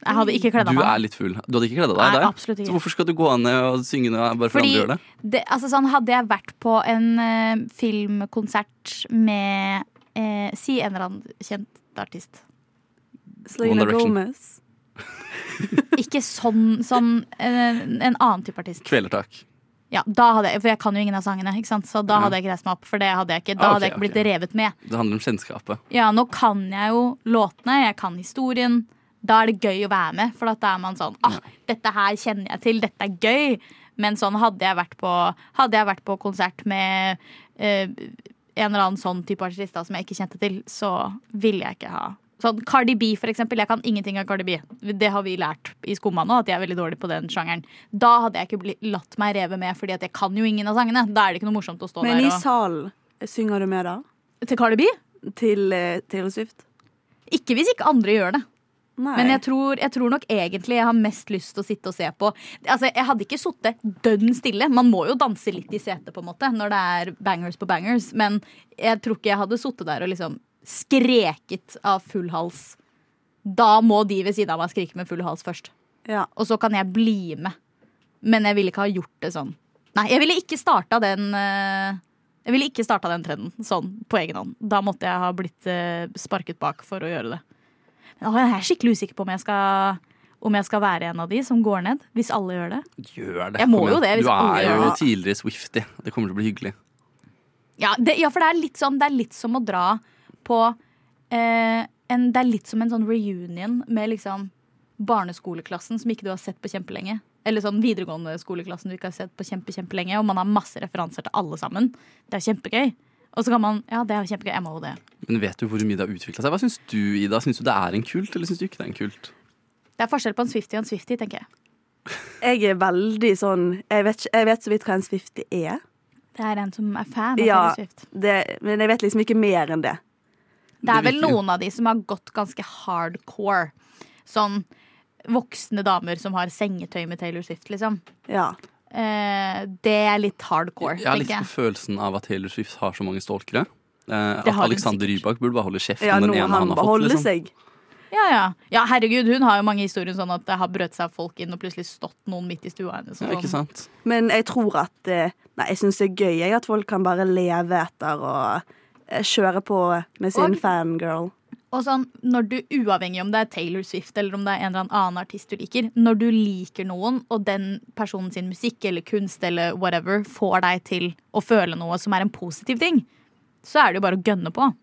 [SPEAKER 4] Jeg hadde ikke kledd
[SPEAKER 3] Du
[SPEAKER 4] av meg.
[SPEAKER 3] er litt full. Du hadde ikke kledd av
[SPEAKER 4] Nei,
[SPEAKER 3] deg? der.
[SPEAKER 4] absolutt ikke.
[SPEAKER 3] Så hvorfor skal du gå ned og synge når bare for
[SPEAKER 4] Fordi
[SPEAKER 3] andre gjør det?
[SPEAKER 4] det, altså sånn, hadde jeg vært på en eh, filmkonsert med eh, si en eller annen kjent artist.
[SPEAKER 5] Selena
[SPEAKER 3] Direction.
[SPEAKER 5] Gomez.
[SPEAKER 4] Ikke sånn, sånn eh, en annen type artist.
[SPEAKER 3] Kvelertak.
[SPEAKER 4] Ja, da hadde jeg, For jeg kan jo ingen av sangene, ikke sant? så da
[SPEAKER 3] Ja.
[SPEAKER 4] hadde jeg ikke reist meg opp. For det hadde jeg ikke, da
[SPEAKER 3] Ah, ok,
[SPEAKER 4] hadde jeg ikke blitt
[SPEAKER 3] ok.
[SPEAKER 4] revet med.
[SPEAKER 3] Det handler om kjennskapet.
[SPEAKER 4] Ja, nå kan jeg jo låtene, jeg kan historien. Da er det gøy å være med, for at da er man sånn ah, dette her kjenner jeg til, dette er gøy. Men sånn hadde jeg vært på, hadde jeg vært på konsert med eh, en eller annen sånn type artist da, som jeg ikke kjente til, så ville jeg ikke ha Sånn Cardi B, for eksempel. Jeg kan ingenting av Cardi B. Det har vi lært i skumma nå, at jeg er veldig dårlig på den sjangeren. Da hadde jeg ikke blitt, latt meg reve med, Fordi at jeg kan jo ingen av sangene. Da er det ikke noe morsomt å stå
[SPEAKER 5] Men
[SPEAKER 4] der
[SPEAKER 5] i
[SPEAKER 4] og
[SPEAKER 5] salen synger du med da?
[SPEAKER 4] Til Cardi B?
[SPEAKER 5] Til eh, Taylor Swift?
[SPEAKER 4] Ikke hvis ikke andre gjør det.
[SPEAKER 5] Nei.
[SPEAKER 4] Men jeg tror, jeg tror nok egentlig jeg har mest lyst til å sitte og se på. Altså, Jeg hadde ikke sittet dønn stille. Man må jo danse litt i setet på en måte når det er bangers på bangers. Men jeg tror ikke jeg hadde sittet der og liksom skreket av full hals. Da må de ved siden av meg skrike med full hals først.
[SPEAKER 5] ja.
[SPEAKER 4] Og så kan jeg bli med. Men jeg ville ikke ha gjort det sånn. Nei, jeg ville ikke starta den eh, Jeg ville ikke starta den trenden sånn på egen hånd. Da måtte jeg ha blitt eh, sparket bak for å gjøre det. Men åh, jeg er skikkelig usikker på om jeg skal om jeg skal være en av de som går ned, hvis alle gjør det.
[SPEAKER 3] Gjør det.
[SPEAKER 4] Jeg må
[SPEAKER 3] Kom
[SPEAKER 4] jo
[SPEAKER 3] igjen.
[SPEAKER 4] det, hvis
[SPEAKER 3] Du
[SPEAKER 4] alle
[SPEAKER 3] er
[SPEAKER 4] gjør
[SPEAKER 3] jo
[SPEAKER 5] det.
[SPEAKER 3] tidligere Swifty. Det kommer til å bli hyggelig.
[SPEAKER 4] Ja, det, ja for det er litt sånn Det er litt som å dra på eh, en, Det er litt som en sånn reunion med liksom barneskoleklassen som ikke du har sett på kjempelenge. Eller sånn videregående skoleklassen du ikke har sett på kjempe, kjempelenge. Og man har masse referanser til alle sammen. Det er kjempegøy. Og så kan man Ja, det er jo kjempegøy. Jeg må jo det.
[SPEAKER 3] Men vet du hvor mye det har utvikla seg? Hva syns du, Ida? Syns du det er en kult, eller syns du ikke det er en kult?
[SPEAKER 4] Det er forskjell på en Swifty og en Swifty, tenker jeg.
[SPEAKER 5] Jeg er veldig sånn Jeg vet, ikke- jeg vet så vidt hva en Swifty er.
[SPEAKER 4] Det er en som er fan av
[SPEAKER 5] Ja,
[SPEAKER 4] Taylor Swift.
[SPEAKER 5] det, men jeg vet liksom ikke mer enn det.
[SPEAKER 4] Det er
[SPEAKER 3] Det
[SPEAKER 4] vel
[SPEAKER 3] virker jo.
[SPEAKER 4] noen av de som har gått ganske hardcore. Sånn voksne damer som har sengetøy med Taylor Swift, liksom.
[SPEAKER 5] Ja.
[SPEAKER 4] Eh, det er litt hardcore,
[SPEAKER 3] Jeg har litt
[SPEAKER 4] tenker
[SPEAKER 3] på
[SPEAKER 4] jeg.
[SPEAKER 3] følelsen av at Taylor Swift har så mange stalkere. Eh, at
[SPEAKER 4] Det har hun
[SPEAKER 3] Alexander
[SPEAKER 4] sikkert.
[SPEAKER 3] Rybak burde bare holde kjeft
[SPEAKER 5] ja
[SPEAKER 3] om
[SPEAKER 5] nå
[SPEAKER 3] den ene han,
[SPEAKER 5] han
[SPEAKER 3] har fått.
[SPEAKER 5] beholder
[SPEAKER 3] Liksom.
[SPEAKER 5] seg.
[SPEAKER 4] Ja, ja. ja, herregud, hun har jo mange historier sånn at det har brøt seg folk inn, og plutselig stått noen midt i stua hennes. og
[SPEAKER 3] Ja, ikke
[SPEAKER 4] sånn.
[SPEAKER 3] sant?
[SPEAKER 5] Men jeg tror at eh, Nei, jeg syns det er gøy jeg, at folk kan bare leve etter og eh, kjøre på med sin
[SPEAKER 4] Og-
[SPEAKER 5] fangirl.
[SPEAKER 4] Og sånn, når du, uavhengig om det er Taylor Swift eller om det er en eller annen artist du liker, når du liker noen, og den personen sin musikk eller kunst eller whatever får deg til å føle noe som er en positiv ting, så er det jo bare å gønne på.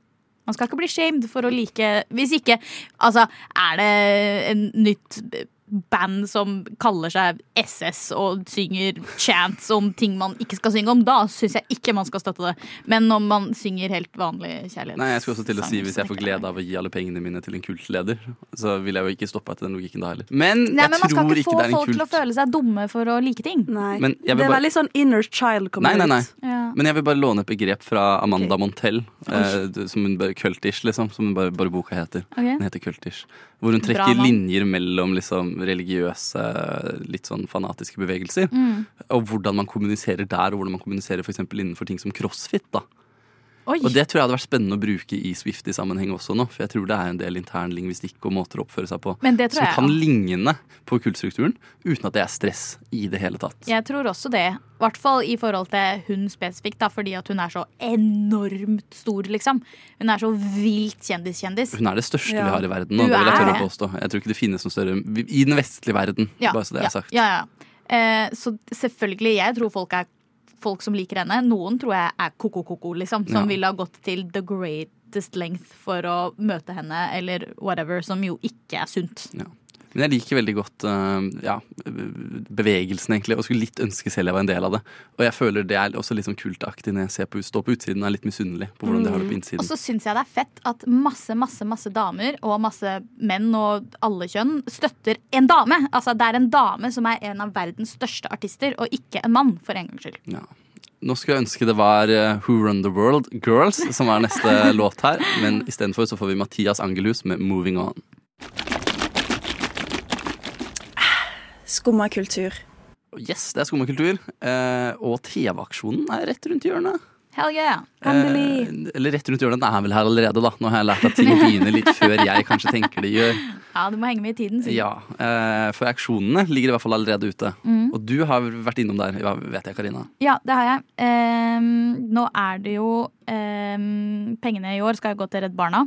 [SPEAKER 4] Man skal ikke bli shamed for å like Hvis ikke Altså, er det en nytt band som kaller seg SS og synger chants om ting man ikke skal synge om, da syns jeg ikke man skal støtte det. Men når man synger helt vanlig kjærlighetssang
[SPEAKER 3] Nei, jeg skal også til å si Hvis jeg får glede av å gi alle pengene mine til en kultleder, så vil jeg jo ikke stoppe etter den logikken da heller. Men
[SPEAKER 4] Nei, men
[SPEAKER 3] jeg
[SPEAKER 4] Man skal
[SPEAKER 3] tror
[SPEAKER 4] ikke
[SPEAKER 3] ikke
[SPEAKER 4] få
[SPEAKER 3] det er en
[SPEAKER 4] folk til å
[SPEAKER 3] kult.
[SPEAKER 4] føle seg dumme for å like ting.
[SPEAKER 5] Nei.
[SPEAKER 3] Men jeg vil
[SPEAKER 5] det er
[SPEAKER 3] bare-
[SPEAKER 5] veldig sånn inner child kommer
[SPEAKER 3] Nei, nei, nei.
[SPEAKER 5] ut.
[SPEAKER 4] Ja.
[SPEAKER 3] Men jeg vil bare låne et begrep fra Amanda
[SPEAKER 5] Ok.
[SPEAKER 3] Montell, eh, det- som hun bare Kultish, liksom. Som hun bare, bare boka heter. Den heter Kultish. Hvor hun
[SPEAKER 4] Bra
[SPEAKER 3] trekker
[SPEAKER 4] navn.
[SPEAKER 3] linjer mellom liksom, religiøse, litt sånn fanatiske bevegelser.
[SPEAKER 4] Mm.
[SPEAKER 3] Og hvordan man kommuniserer der, og hvordan man kommuniserer for eksempel innenfor ting som crossfit. da
[SPEAKER 4] Oi,
[SPEAKER 3] Og det tror jeg hadde vært spennende å bruke i Swifty-sammenheng også nå. For jeg tror det er en del intern lingvistikk og måter å oppføre seg på
[SPEAKER 4] Men det tror
[SPEAKER 3] som
[SPEAKER 4] jeg,
[SPEAKER 3] kan
[SPEAKER 4] ja.
[SPEAKER 3] ligne på kultstrukturen, uten at det er stress i det hele tatt.
[SPEAKER 4] Jeg tror også det. I hvert fall i forhold til hun spesifikt, da, fordi at hun er så enormt stor, liksom. Hun er så vilt kjendiskjendis.
[SPEAKER 3] Hun er det største
[SPEAKER 5] Ja.
[SPEAKER 3] vi har i verden,
[SPEAKER 4] Du
[SPEAKER 3] og det vil jeg
[SPEAKER 4] er
[SPEAKER 3] tørre å
[SPEAKER 4] det.
[SPEAKER 3] påstå. Jeg tror ikke det finnes noe større i den vestlige verden, bare så det er
[SPEAKER 4] ja,
[SPEAKER 3] sagt.
[SPEAKER 4] Ja, ja. Eh, så selvfølgelig, jeg tror folk er folk som liker henne. Noen tror jeg er ko-ko-ko-ko, liksom. Som
[SPEAKER 3] Ja.
[SPEAKER 4] ville ha gått til the greatest length for å møte henne, eller whatever, som jo ikke er sunt.
[SPEAKER 3] Men jeg liker veldig godt eh, ja, bevegelsen, egentlig, og skulle litt ønske selv jeg var en del av det. Og jeg føler det er også litt sånn kultaktig når jeg ser på, står på utsiden og er litt misunnelig på hvordan de har det på
[SPEAKER 4] Og
[SPEAKER 3] innsiden.
[SPEAKER 4] så syns jeg det er fett at masse masse, masse damer og masse menn og alle kjønn støtter en dame. Altså Det er en dame som er en av verdens største artister, og ikke en mann, for en gangs skyld.
[SPEAKER 3] Ja. Nå skulle jeg ønske det var eh, Who Run The World Girls som er neste låt her, men istedenfor så får vi Mathias Angelhus med Moving On.
[SPEAKER 7] Skumma kultur.
[SPEAKER 3] Yes, det er Skumma kultur. Eh, og TV-aksjonen er rett rundt hjørnet.
[SPEAKER 4] Hell yeah.
[SPEAKER 3] Eh, eller rett rundt hjørnet, den er vel her allerede, da. Nå har jeg lært at ting begynner litt før jeg kanskje tenker de gjør.
[SPEAKER 4] Ja, du må henge med i tiden. sier
[SPEAKER 3] Ja, eh, For aksjonene ligger i hvert fall allerede ute. Og du har vært innom der, ja, vet jeg, Karina.
[SPEAKER 4] Ja, det har jeg. Ehm, nå er det jo ehm, Pengene i år skal jo gå til Redd Barna.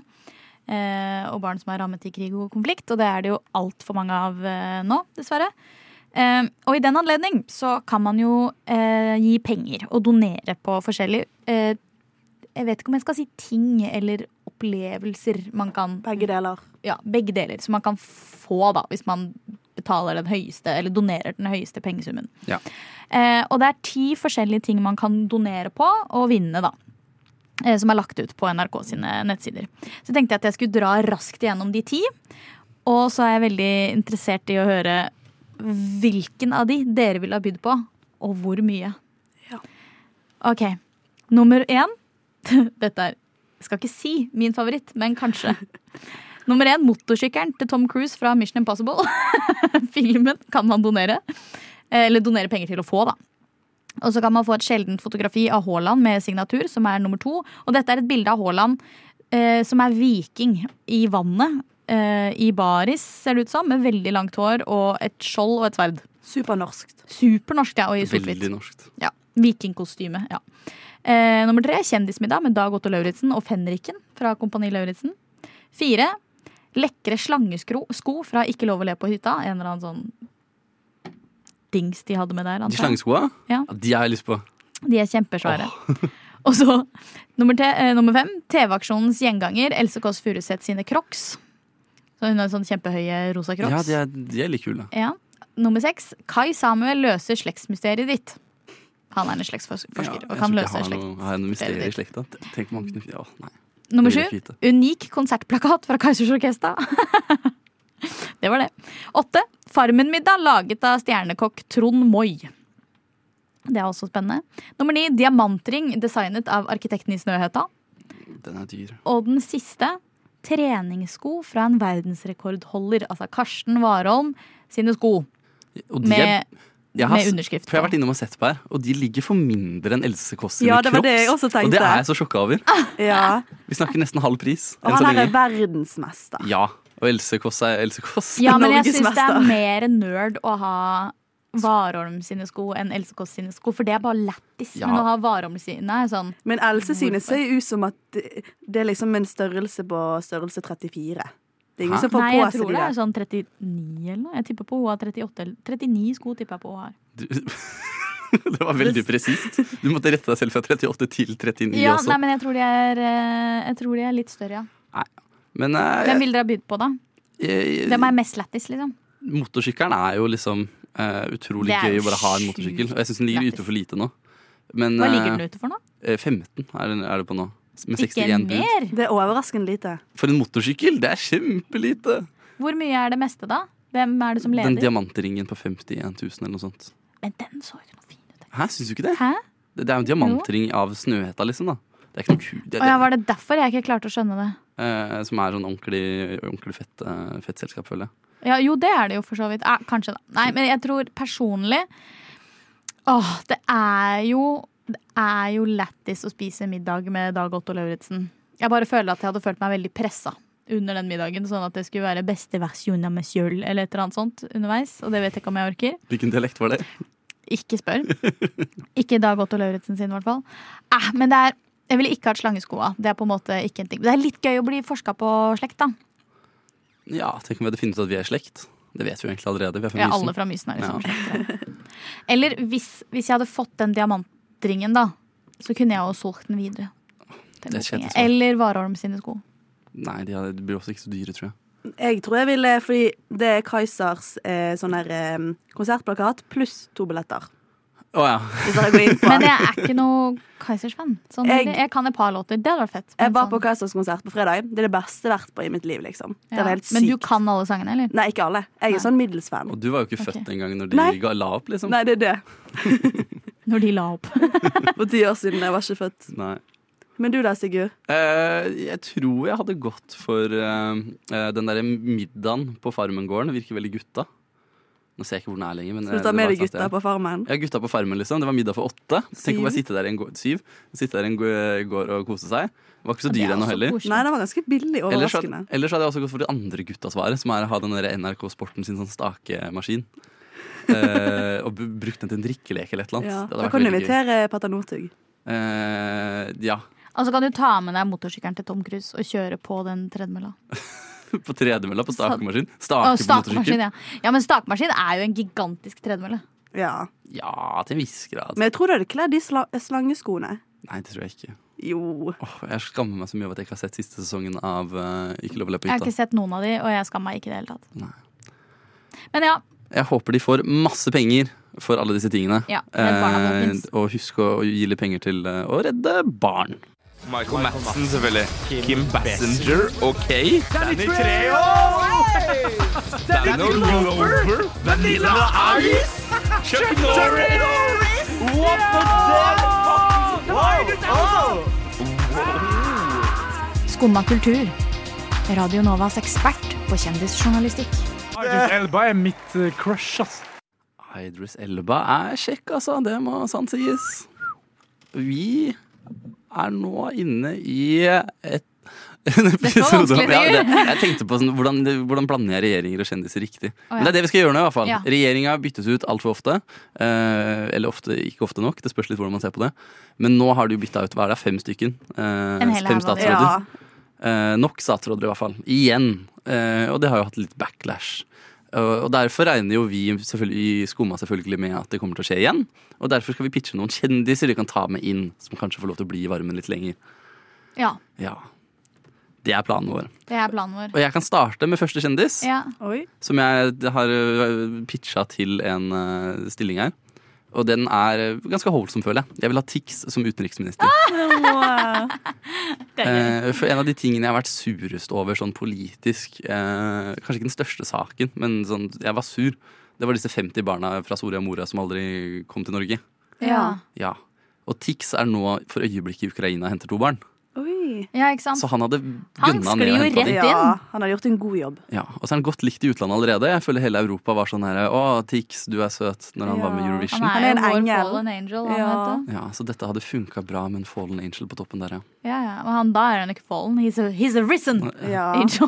[SPEAKER 4] eh, og barn som er rammet i krig og konflikt. Og det er det jo altfor mange av eh, nå, dessverre. Ehm, og i den anledning så kan man jo eh, gi penger og donere på forskjellig eh, Jeg vet ikke om jeg skal si ting eller opplevelser man kan
[SPEAKER 5] Begge deler.
[SPEAKER 4] ja, begge deler som man kan få da, hvis man betaler den høyeste, eller donerer den høyeste pengesummen.
[SPEAKER 3] Ja.
[SPEAKER 4] Eh, og det er ti forskjellige ting man kan donere på og vinne, da. Eh, som er lagt ut på NRK sine nettsider. Så tenkte jeg at jeg skulle dra raskt gjennom de ti. Og så er jeg veldig interessert i å høre hvilken av de dere ville ha bydd på, og hvor mye.
[SPEAKER 5] Ja.
[SPEAKER 4] Ok, nummer én. Dette er, jeg skal ikke si min favoritt, men kanskje. Nummer én, motorsykkelen til Tom Cruise fra Mission Impossible. Filmen kan man donere. Eh, Eller donere penger til å få, da. Og så kan man få et sjeldent fotografi av Haaland med signatur, som er nummer to. Og dette er et bilde av Haaland eh, som er viking i vannet. Eh, I baris, ser det ut som, med veldig langt hår og et skjold og et sverd.
[SPEAKER 5] Supernorskt.
[SPEAKER 4] Supernorsk, ja. Og i sort-hvitt.
[SPEAKER 3] Veldig norskt.
[SPEAKER 4] Ja, Vikingkostyme. ja. Eh, nummer tre, Kjendismiddag med Dag Otto Lauritzen og Fenriken fra Kompani Lauritzen. Fire, lekre slangesko sko fra Ikke lov å le på hytta. En eller annen sånn dings de hadde med der.
[SPEAKER 3] De
[SPEAKER 4] antar jeg.
[SPEAKER 3] slangeskoa?
[SPEAKER 4] Ja.
[SPEAKER 3] De har jeg lyst på.
[SPEAKER 4] De er kjempesvære. og så nummer, te, eh, nummer fem, TV-aksjonens gjenganger, Else Kåss Furuseth sine crocs. Så hun har sånn kjempehøye rosa crocs.
[SPEAKER 3] Ja, de er, de er litt kule.
[SPEAKER 4] Ja. Nummer seks. Kai Samuel løser slektsmysteriet ditt. Han er en slektsforsker
[SPEAKER 3] Ja, jeg
[SPEAKER 4] og kan
[SPEAKER 3] tror ikke
[SPEAKER 4] løse
[SPEAKER 3] jeg har noe- Har jeg noe mysterium i
[SPEAKER 4] slektsmysteriet ditt.
[SPEAKER 3] slekta? Tenk mange knuffer ja, nei.
[SPEAKER 4] Nummer
[SPEAKER 3] Det
[SPEAKER 4] sju.
[SPEAKER 3] vil jeg ikke
[SPEAKER 4] Unik konsertplakat fra Kaizers Orkester. det var det. Åtte. Farmen-middag laget av stjernekokk Trond Moi. Det er også spennende. Nummer ni. Diamantring designet av arkitekten i Snøhetta.
[SPEAKER 3] Den er dyr.
[SPEAKER 4] Og den siste. Treningssko fra en verdensrekordholder, altså Karsten Warholm sine sko.
[SPEAKER 3] Og de er,
[SPEAKER 4] Med,
[SPEAKER 3] jeg har,
[SPEAKER 4] med
[SPEAKER 3] s-
[SPEAKER 4] underskrift.
[SPEAKER 3] For jeg har
[SPEAKER 4] på.
[SPEAKER 3] vært innom og sett på her, og de ligger for mindre enn Else Kåss sine
[SPEAKER 5] Ja, det var det jeg
[SPEAKER 3] crocs.
[SPEAKER 5] også tenkte.
[SPEAKER 3] Og det er jeg så sjokka over.
[SPEAKER 5] Ja.
[SPEAKER 3] Vi snakker nesten halv pris.
[SPEAKER 5] Og
[SPEAKER 3] enn så
[SPEAKER 5] han her er
[SPEAKER 3] lenge.
[SPEAKER 5] verdensmester.
[SPEAKER 3] Ja, og Else Kåss er Else Kåss.
[SPEAKER 4] Ja, men jeg
[SPEAKER 5] Norges
[SPEAKER 4] syns det er
[SPEAKER 5] mester.
[SPEAKER 4] mer nerd å ha Warholm sine sko enn Else Kåss sine sko, for det er bare lættis.
[SPEAKER 3] Ja.
[SPEAKER 4] Men å ha Warholm sine er sånn
[SPEAKER 5] Men Else synes det ut som at det det er liksom en størrelse på størrelse 34. Det er
[SPEAKER 3] Hæ?
[SPEAKER 5] ingen som får
[SPEAKER 4] Nei,
[SPEAKER 5] på
[SPEAKER 4] jeg
[SPEAKER 5] seg
[SPEAKER 4] tror
[SPEAKER 5] de
[SPEAKER 4] det
[SPEAKER 5] der.
[SPEAKER 4] er sånn 39 eller noe. Jeg tipper på hun har 38 eller 39 sko tipper jeg på hun har.
[SPEAKER 3] Du, det var veldig presist. Du måtte rette deg selv fra 38 til 39
[SPEAKER 4] Ja,
[SPEAKER 3] også.
[SPEAKER 4] nei, men jeg tror de er, eh, jeg tror de er litt større, ja.
[SPEAKER 3] Men eh,
[SPEAKER 4] Hvem ville dere ha bydd på, da?
[SPEAKER 3] jeg-
[SPEAKER 4] Hvem er mest lættis, liksom?
[SPEAKER 3] motorsykkelen er jo liksom eh, utrolig
[SPEAKER 4] Det er
[SPEAKER 3] gøy
[SPEAKER 4] jo
[SPEAKER 3] å bare ha en
[SPEAKER 4] sjukt
[SPEAKER 3] motorsykkel. Og jeg syns den ligger
[SPEAKER 4] lættis.
[SPEAKER 3] ute for lite nå. Men
[SPEAKER 4] Hva ligger
[SPEAKER 3] eh,
[SPEAKER 4] den ute for nå?
[SPEAKER 3] eh, 15 er, den, er det på nå. Med
[SPEAKER 4] Ikke
[SPEAKER 3] 61 bud.
[SPEAKER 4] mer?
[SPEAKER 5] Det er overraskende lite.
[SPEAKER 3] For en motorsykkel! Det er kjempelite!
[SPEAKER 4] Hvor mye er det meste, da? Hvem er det som
[SPEAKER 3] Den
[SPEAKER 4] leder?
[SPEAKER 3] diamantringen på 51 000 eller noe sånt.
[SPEAKER 4] Men den så jo ikke noe fin ut.
[SPEAKER 3] Hæ, syns du ikke det?
[SPEAKER 4] Hæ?
[SPEAKER 3] Det det er jo en diamantring av Snøhetta, liksom. da Det er ikke noe ku... Det,
[SPEAKER 4] Å ja,
[SPEAKER 3] det,
[SPEAKER 4] var det derfor jeg ikke klarte å skjønne det?
[SPEAKER 3] eh, som er sånn ordentlig, ordentlig fett, eh, fett selskap, føler jeg.
[SPEAKER 4] Ja, jo, det er det jo for så vidt. Eh, kanskje, da. Nei, men jeg tror personlig Åh, det er jo Det er jo lættis å spise middag med Dag Otto Lauritzen. Jeg bare føler at jeg hadde følt meg veldig pressa under den middagen. Sånn at det skulle være beste versjon av meg sjøl eller et eller annet sånt underveis. Og det vet jeg ikke om jeg orker.
[SPEAKER 3] Hvilken dialekt var det?
[SPEAKER 4] Ikke spør. Ikke Dag Otto Lauritzen sin, i hvert fall. Eh, men det er jeg ville ikke hatt slangeskoa. Det er på en måte ikke en ting. Det er litt gøy å bli forska på slekt, da.
[SPEAKER 3] Ja, tenk om vi hadde funnet ut at vi er slekt. Det vet vi jo egentlig allerede. Vi er fra
[SPEAKER 4] Ja,
[SPEAKER 3] Mysen.
[SPEAKER 4] alle fra Mysen er
[SPEAKER 3] Ja.
[SPEAKER 4] liksom slektere. Eller hvis, hvis jeg hadde fått den diamantringen, da, så kunne jeg jo solgt den videre. Til
[SPEAKER 3] Det er
[SPEAKER 4] noen
[SPEAKER 3] kjedelig
[SPEAKER 4] penger.
[SPEAKER 3] svar.
[SPEAKER 4] Eller Warholm sine sko.
[SPEAKER 3] Nei, de, hadde, de blir også ikke så dyre, tror jeg.
[SPEAKER 5] Jeg tror jeg ville, fordi det er Kaizers eh, sånn her eh, konsertplakat pluss to billetter.
[SPEAKER 3] Å ja.
[SPEAKER 5] Hvis dere går inn på
[SPEAKER 4] Men jeg er ikke noe Kaizers-fan. Sånn,
[SPEAKER 5] Jeg-
[SPEAKER 4] jeg, kan et par låter. Det hadde vært fett.
[SPEAKER 5] Jeg var
[SPEAKER 4] sånn-
[SPEAKER 5] på Kaizers konsert på fredag. Det er det beste jeg har vært på i mitt liv, liksom. Det
[SPEAKER 4] ja.
[SPEAKER 5] var helt sykt.
[SPEAKER 4] Men du kan alle sangene, eller?
[SPEAKER 5] Nei, ikke alle. Jeg er sånn middels fan.
[SPEAKER 3] Og du var jo ikke født
[SPEAKER 4] Ok.
[SPEAKER 3] engang når de
[SPEAKER 5] Nei.
[SPEAKER 3] ga, la opp, liksom.
[SPEAKER 5] Nei, det er det.
[SPEAKER 4] Når de la opp.
[SPEAKER 5] For ti år siden. Jeg var ikke født.
[SPEAKER 3] Nei.
[SPEAKER 5] Men du da, Sigurd?
[SPEAKER 3] Eh, jeg tror jeg hadde gått for eh, eh, den derre middagen på Farmengården. Virker veldig gutta. Nå ser jeg ikke hvor den er lenger. Men,
[SPEAKER 5] Skal
[SPEAKER 3] eh,
[SPEAKER 5] du ta
[SPEAKER 3] det
[SPEAKER 5] med
[SPEAKER 3] var
[SPEAKER 5] deg
[SPEAKER 3] et sted.
[SPEAKER 5] gutta på farmen?
[SPEAKER 3] Ja, gutta på farmen, liksom. Det var middag for åtte. Tenk å
[SPEAKER 5] Syv.
[SPEAKER 3] bare sitte der i en gå- syv. Sitte der i en gå- gård og kose seg. Det var ikke så dyr
[SPEAKER 4] altså
[SPEAKER 3] ennå heller.
[SPEAKER 5] Nei, den var ganske billig.
[SPEAKER 3] Ellers hadde,
[SPEAKER 5] Overraskende.
[SPEAKER 3] ellers hadde jeg også gått for det andre guttasvaret, som er å ha den der NRK Sporten sin sånn stakemaskin. Eh, og bu- brukt den til en drikkelek eller et eller annet.
[SPEAKER 5] Ja.
[SPEAKER 3] Det hadde
[SPEAKER 5] Da
[SPEAKER 3] vært
[SPEAKER 5] kan du
[SPEAKER 3] veldig gøy.
[SPEAKER 5] invitere Petter Northug.
[SPEAKER 3] Eh, ja.
[SPEAKER 4] Altså kan du ta med deg motorsykkelen til Tom Cruise og kjøre på den tredemølla.
[SPEAKER 3] På tredemølla, på stakemaskin.
[SPEAKER 4] Å,
[SPEAKER 3] Stake på
[SPEAKER 4] Stakemaskin,
[SPEAKER 3] motorsykkel.
[SPEAKER 4] ja. ja. Men stakemaskin er jo en gigantisk tredemølle.
[SPEAKER 5] Ja.
[SPEAKER 3] Ja, til en viss grad.
[SPEAKER 5] Men jeg tror du hadde kledd de sla slangeskoene.
[SPEAKER 3] Nei, det tror jeg ikke.
[SPEAKER 5] Jo.
[SPEAKER 3] Åh, jeg skammer meg så mye over at jeg ikke har sett siste sesongen av eh, Ikke lov å le på
[SPEAKER 4] Jeg har
[SPEAKER 3] hytta.
[SPEAKER 4] ikke sett noen av de, og jeg skammer meg ikke i det hele tatt.
[SPEAKER 3] Nei.
[SPEAKER 4] Men ja,
[SPEAKER 3] Jeg håper de får masse penger for alle disse tingene.
[SPEAKER 4] Ja, Redd Barna,
[SPEAKER 3] Eh,
[SPEAKER 4] folkens.
[SPEAKER 3] og husk å gi litt penger til eh, å redde barn.
[SPEAKER 7] Michael Madsen, selvfølgelig. Kim Bassinger og Kay. Danny Treho! Danny Glover! Vanilla Ice! Chuck Norris! What the
[SPEAKER 8] Skumma kultur. Radio Novas ekspert på kjendisjournalistikk.
[SPEAKER 9] Idris Elba er mitt eh, crush, ass.
[SPEAKER 3] Idris Elba er kjekk, altså. Det må sant sies. Vi er nå inne i et en episode
[SPEAKER 4] vanskelig,
[SPEAKER 3] ja, det,
[SPEAKER 4] Sigurd.
[SPEAKER 3] Jeg tenkte på sånn, hvordan, hvordan blander jeg regjeringer og kjendiser riktig. Men det er det vi skal gjøre nå. i hvert fall
[SPEAKER 4] Ja.
[SPEAKER 3] Regjeringa byttes ut altfor ofte. Eh, eller ofte, ikke ofte nok. Det spørs litt hvordan man ser på det. Men nå har de jo bytta ut hva er det, fem stykken. Eh,
[SPEAKER 4] En hel
[SPEAKER 3] fem
[SPEAKER 4] haug av dem.
[SPEAKER 3] statsråder.
[SPEAKER 5] Ja.
[SPEAKER 3] Eh, nok statsråder, i hvert fall. Igjen. Eh, og det har jo hatt litt backlash. Eh, og derfor regner jo vi selvfølgelig, i Skumma selvfølgelig med at det kommer til å skje igjen. Og derfor skal vi pitche noen kjendiser vi kan ta med inn, som kanskje får lov til å bli i varmen litt lenger.
[SPEAKER 4] ja.
[SPEAKER 3] Ja. Det er planen vår.
[SPEAKER 4] Det er planen vår.
[SPEAKER 3] Og jeg kan starte med første kjendis,
[SPEAKER 4] Ja.
[SPEAKER 5] Oi.
[SPEAKER 3] som jeg har eh, pitcha til en eh, stilling her. Og den er eh, ganske holdsom, føler jeg. Jeg vil ha Tix som utenriksminister. Eh, for en av de tingene jeg har vært surest over sånn politisk eh, Kanskje ikke den største saken, men sånn, jeg var sur. Det var disse 50 barna fra Soria Moria som aldri kom til Norge.
[SPEAKER 4] Ja.
[SPEAKER 3] Ja. Og Tix er nå for øyeblikket i Ukraina og henter to barn.
[SPEAKER 5] Oi.
[SPEAKER 4] ja, ikke sant?
[SPEAKER 3] Så han hadde
[SPEAKER 4] Han
[SPEAKER 3] gunna ned
[SPEAKER 4] sklir
[SPEAKER 3] og
[SPEAKER 4] jo
[SPEAKER 3] henta dem.
[SPEAKER 4] rett
[SPEAKER 5] Ja,
[SPEAKER 4] inn.
[SPEAKER 5] han hadde gjort en god jobb.
[SPEAKER 3] Ja, og så er han godt likt i utlandet allerede. Jeg føler hele Europa var sånn her Å, Tix, du er søt. Når han var med i
[SPEAKER 5] Ja,
[SPEAKER 3] Eurovision.
[SPEAKER 4] Han
[SPEAKER 5] Han
[SPEAKER 4] er
[SPEAKER 5] er
[SPEAKER 4] jo
[SPEAKER 5] en
[SPEAKER 4] vår
[SPEAKER 5] engel.
[SPEAKER 4] fallen angel. Han,
[SPEAKER 5] Ja.
[SPEAKER 4] vet du.
[SPEAKER 3] Ja, Så dette hadde funka bra med en fallen angel på toppen der, ja.
[SPEAKER 4] Ja, ja. Men han, da er han ikke fallen. He's a, he's a risen
[SPEAKER 5] Ja.
[SPEAKER 4] angel.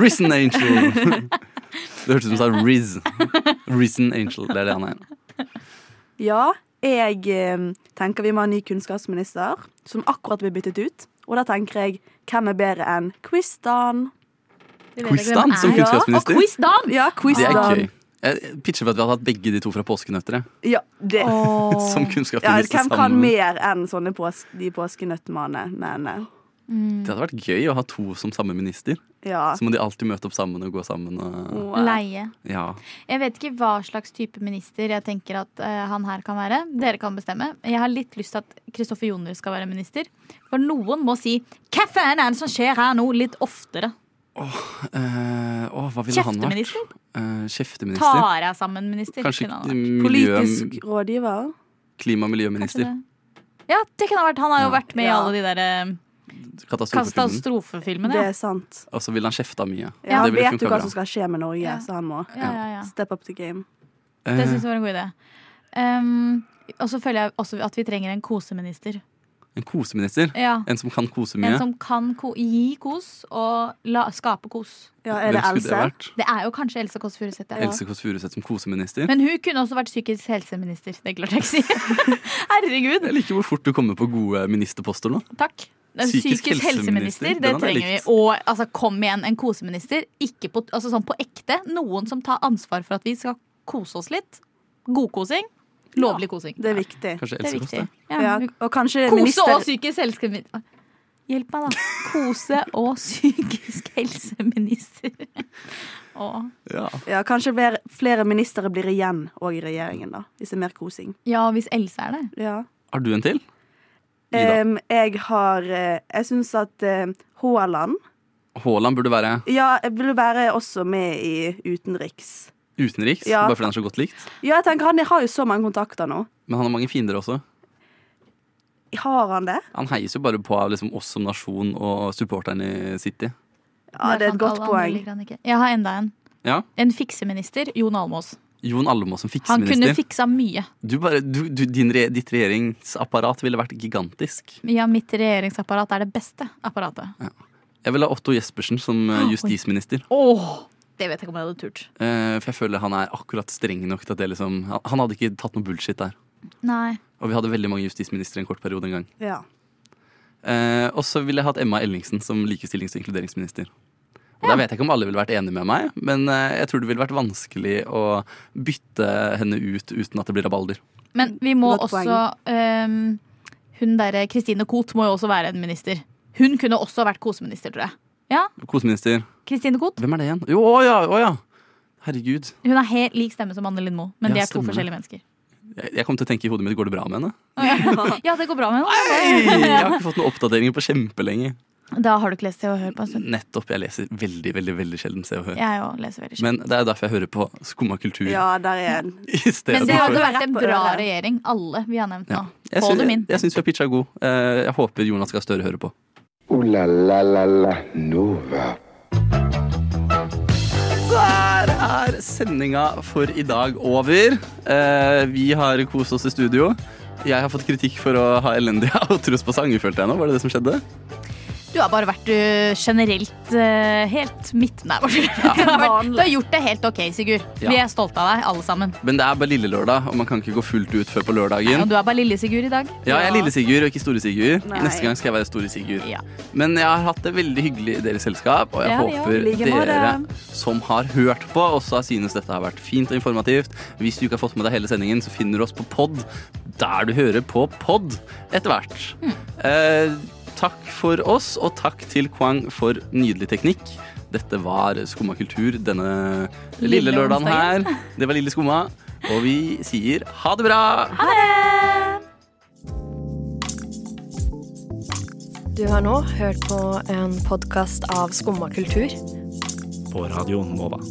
[SPEAKER 3] Risen Angel. Det hørtes ut som du sa Riz. Risen Angel, det er det han er.
[SPEAKER 5] ja jeg eh, tenker vi må ha en ny kunnskapsminister, som akkurat ble byttet ut. Og da tenker jeg, hvem er bedre enn Quiz-Dan?
[SPEAKER 3] Quizdan som
[SPEAKER 5] er. Ja,
[SPEAKER 4] Og
[SPEAKER 3] kunnskapsminister.
[SPEAKER 4] quiz Dan!
[SPEAKER 5] Ja,
[SPEAKER 3] Det er
[SPEAKER 5] Quiz-Dan.
[SPEAKER 3] gøy. Jeg pitcher for at vi hadde hatt begge de to fra Påskenøttere
[SPEAKER 5] Ja, det.
[SPEAKER 3] som
[SPEAKER 5] Ja,
[SPEAKER 3] kunnskapsminister
[SPEAKER 5] hvem kan
[SPEAKER 3] liksom sammen.
[SPEAKER 5] mer enn sånne pås de påskenøttmannene? Men eh,
[SPEAKER 3] Det hadde vært gøy å ha to som samme minister.
[SPEAKER 5] ja.
[SPEAKER 3] Så må de alltid møte opp sammen og gå sammen.
[SPEAKER 5] Mm.
[SPEAKER 3] Og,
[SPEAKER 4] Leie.
[SPEAKER 3] ja.
[SPEAKER 4] Jeg vet ikke hva slags type minister jeg tenker at eh, han her kan være. Dere kan bestemme. Jeg har litt lyst til at Kristoffer Joner skal være minister. For noen må si 'hva faen er det som skjer her nå?' litt oftere.
[SPEAKER 3] Eh, å, hva ville han vært?
[SPEAKER 4] Kjefteminister?
[SPEAKER 3] Eh, kjefteminister?
[SPEAKER 4] Tar jeg sammen minister?
[SPEAKER 3] Kanskje
[SPEAKER 4] kunne han vært.
[SPEAKER 3] miljø,
[SPEAKER 5] Politisk rådgiver.
[SPEAKER 3] klima- og
[SPEAKER 4] Kanskje
[SPEAKER 3] miljøminister.
[SPEAKER 4] det. Ja, det kunne han vært. Han har jo
[SPEAKER 3] Ja.
[SPEAKER 4] vært med i
[SPEAKER 5] Ja.
[SPEAKER 4] alle de der eh,
[SPEAKER 3] Katastrofefilmen.
[SPEAKER 4] katastrofefilmene.
[SPEAKER 5] Det
[SPEAKER 4] ja.
[SPEAKER 5] er sant.
[SPEAKER 3] Og så ville han kjefta mye.
[SPEAKER 5] Ja, han
[SPEAKER 3] det ville
[SPEAKER 5] vet jo
[SPEAKER 3] funka
[SPEAKER 5] hva
[SPEAKER 3] bra.
[SPEAKER 5] som skal skje med Norge,
[SPEAKER 4] Ja.
[SPEAKER 5] så han må
[SPEAKER 4] Ja, ja, ja.
[SPEAKER 5] step up the game.
[SPEAKER 4] Det
[SPEAKER 3] Eh,
[SPEAKER 4] syns jeg var en god idé. Um, og så føler jeg også at vi trenger en koseminister.
[SPEAKER 3] Eh, en koseminister.
[SPEAKER 4] Ja.
[SPEAKER 3] En som kan kose mye.
[SPEAKER 4] En som kan ko gi kos og la skape kos.
[SPEAKER 5] Ja, er det
[SPEAKER 3] Hvem skulle
[SPEAKER 5] Else?
[SPEAKER 3] vært?
[SPEAKER 4] Det er jo kanskje Else Kåss Furuseth. ja.
[SPEAKER 3] Else Kåss Furuseth som koseminister.
[SPEAKER 4] Men hun kunne også vært psykisk helseminister. Det klarte jeg ikke å si. Herregud.
[SPEAKER 3] Jeg liker hvor fort du kommer på gode ministerposter nå.
[SPEAKER 4] Takk. Den
[SPEAKER 3] Psykisk
[SPEAKER 4] Psykisk,
[SPEAKER 3] helseminister,
[SPEAKER 4] helseminister, det
[SPEAKER 3] den hadde jeg
[SPEAKER 4] trenger vi.
[SPEAKER 3] likt.
[SPEAKER 4] Og altså, kom igjen, en koseminister. Ikke på, altså, sånn på ekte. Noen som tar ansvar for at vi skal kose oss litt. Godkosing. Lovlig kosing.
[SPEAKER 5] Det er viktig.
[SPEAKER 3] Kanskje
[SPEAKER 4] Det er
[SPEAKER 3] Else Kåss
[SPEAKER 4] viktig.
[SPEAKER 3] det.
[SPEAKER 5] Ja,
[SPEAKER 4] Ja.
[SPEAKER 5] og kanskje
[SPEAKER 4] Kose og
[SPEAKER 5] minister
[SPEAKER 4] psykisk helseminister. Hjelp meg, da. Kose og psykisk helseminister. Å.
[SPEAKER 3] Ja.
[SPEAKER 5] ja, Kanskje flere- flere ministre blir igjen og i regjeringen, da. Hvis det er mer kosing.
[SPEAKER 4] Ja, hvis Else er det.
[SPEAKER 5] Ja.
[SPEAKER 3] Har du en til? Ida.
[SPEAKER 5] Em, jeg har eh, Jeg syns at eh, Haaland
[SPEAKER 3] Haaland burde være
[SPEAKER 5] Ja, jeg vil være også med i utenriks.
[SPEAKER 3] utenriks,
[SPEAKER 5] Ja.
[SPEAKER 3] bare fordi han er så godt likt.
[SPEAKER 5] Ja, jeg tenker han har jo så mange kontakter nå.
[SPEAKER 3] Men han har mange fiender også.
[SPEAKER 5] Har han det?
[SPEAKER 3] Han heies jo bare på av liksom, oss som nasjon og supporteren i City.
[SPEAKER 5] Ja, det er et
[SPEAKER 4] kan
[SPEAKER 5] godt
[SPEAKER 4] alle andre
[SPEAKER 5] poeng.
[SPEAKER 4] liker han ikke. Jeg har enda en.
[SPEAKER 3] Ja,
[SPEAKER 4] En fikseminister. Jon Almås.
[SPEAKER 3] Jon Almaas som
[SPEAKER 4] Han kunne
[SPEAKER 3] fikseminister.
[SPEAKER 4] fiksa mye.
[SPEAKER 3] Du bare, du, du, din, re- ditt regjeringsapparat ville vært gigantisk.
[SPEAKER 4] Ja, mitt regjeringsapparat er det beste apparatet.
[SPEAKER 3] Jeg vil ha Otto Jespersen som
[SPEAKER 4] Ah,
[SPEAKER 3] eh, justisminister.
[SPEAKER 4] Åh, det vet jeg ikke om jeg hadde turt.
[SPEAKER 3] eh, For jeg føler han er akkurat streng nok til at det liksom han- Han hadde ikke tatt noe bullshit der.
[SPEAKER 4] Nei.
[SPEAKER 3] Og vi hadde veldig mange justisministre en kort periode en gang.
[SPEAKER 5] Ja.
[SPEAKER 3] Eh, og så ville jeg hatt Emma Ellingsen som likestillings- og inkluderingsminister. Og Da vet jeg ikke om alle ville vært enige med meg, men eh, jeg tror det ville vært vanskelig å bytte henne ut uten at det blir rabalder.
[SPEAKER 4] Men vi må
[SPEAKER 5] Godt poeng.
[SPEAKER 4] også ehm, Hun derre Kristine Koht må jo også være en minister. Hun kunne også vært koseminister, tror jeg. Ja,
[SPEAKER 3] Koseminister,
[SPEAKER 4] Kristine Koht.
[SPEAKER 3] hvem er det igjen? Jo, å ja, å ja! Herregud.
[SPEAKER 4] Hun har helt lik stemme som Anne Lindmo, men
[SPEAKER 3] Ja,
[SPEAKER 4] de er to
[SPEAKER 3] stemmer det.
[SPEAKER 4] forskjellige mennesker.
[SPEAKER 3] Jeg, jeg kom til å tenke i hodet mitt går det bra med henne?
[SPEAKER 4] Ja, det går bra med henne.
[SPEAKER 3] Hei! Jeg har ikke fått noen oppdateringer på kjempelenge.
[SPEAKER 4] Da har du ikke lest Se og Hør på en stund.
[SPEAKER 3] Nettopp. Jeg leser veldig, veldig veldig sjelden Se og Hør.
[SPEAKER 4] Jeg òg leser veldig sjelden.
[SPEAKER 3] Men det er derfor jeg hører på Skumma kultur
[SPEAKER 5] ja, der er en.
[SPEAKER 3] i stedet
[SPEAKER 4] Men det
[SPEAKER 3] for.
[SPEAKER 4] hadde vært en
[SPEAKER 5] Rett på
[SPEAKER 4] bra
[SPEAKER 5] øret.
[SPEAKER 4] regjering, alle vi har nevnt nå.
[SPEAKER 3] Ja. Jeg,
[SPEAKER 4] Få
[SPEAKER 3] sy-
[SPEAKER 4] dem inn.
[SPEAKER 3] jeg, jeg syns vi har pitcha god. Eh, Jeg håper Jonas Gahr Støre hører på.
[SPEAKER 2] Ooh la la la la Nova.
[SPEAKER 3] Der er sendinga for i dag over. Eh, Vi har kost oss i studio. Jeg har fått kritikk for å ha elendige outros på sanger, følte jeg nå. Var det det som skjedde?
[SPEAKER 4] Du har bare vært uh, generelt uh, helt midt Nei, bare du, har vært, du har gjort det helt ok, Sigurd.
[SPEAKER 3] Ja.
[SPEAKER 4] Vi er stolte av deg, alle sammen.
[SPEAKER 3] Men det er bare lille lørdag, og man kan ikke gå fullt ut før på lørdagen.
[SPEAKER 4] Og du er bare lille Sigurd i dag.
[SPEAKER 3] Ja, jeg er lille Sigurd og ikke store Sigurd.
[SPEAKER 5] Nei.
[SPEAKER 3] Neste gang skal jeg være store Sigurd.
[SPEAKER 4] Ja.
[SPEAKER 3] Men jeg har hatt det veldig hyggelig i deres selskap, og jeg
[SPEAKER 4] Ja, ja,
[SPEAKER 3] håper
[SPEAKER 5] like måte.
[SPEAKER 3] dere som har hørt på, også har synes dette har vært fint og informativt. Hvis du ikke har fått med deg hele sendingen, så finner du oss på pod der du hører på pod etter hvert. Eh, takk for oss, og takk til Kwang for nydelig teknikk. Dette var Skumma kultur denne lille,
[SPEAKER 4] Lille
[SPEAKER 3] lørdagen
[SPEAKER 4] onsdagen.
[SPEAKER 3] her. Det var Lille Skumma, og vi sier ha det bra!
[SPEAKER 10] Du har nå hørt på en podkast av Skumma kultur.
[SPEAKER 6] På radioen Nova.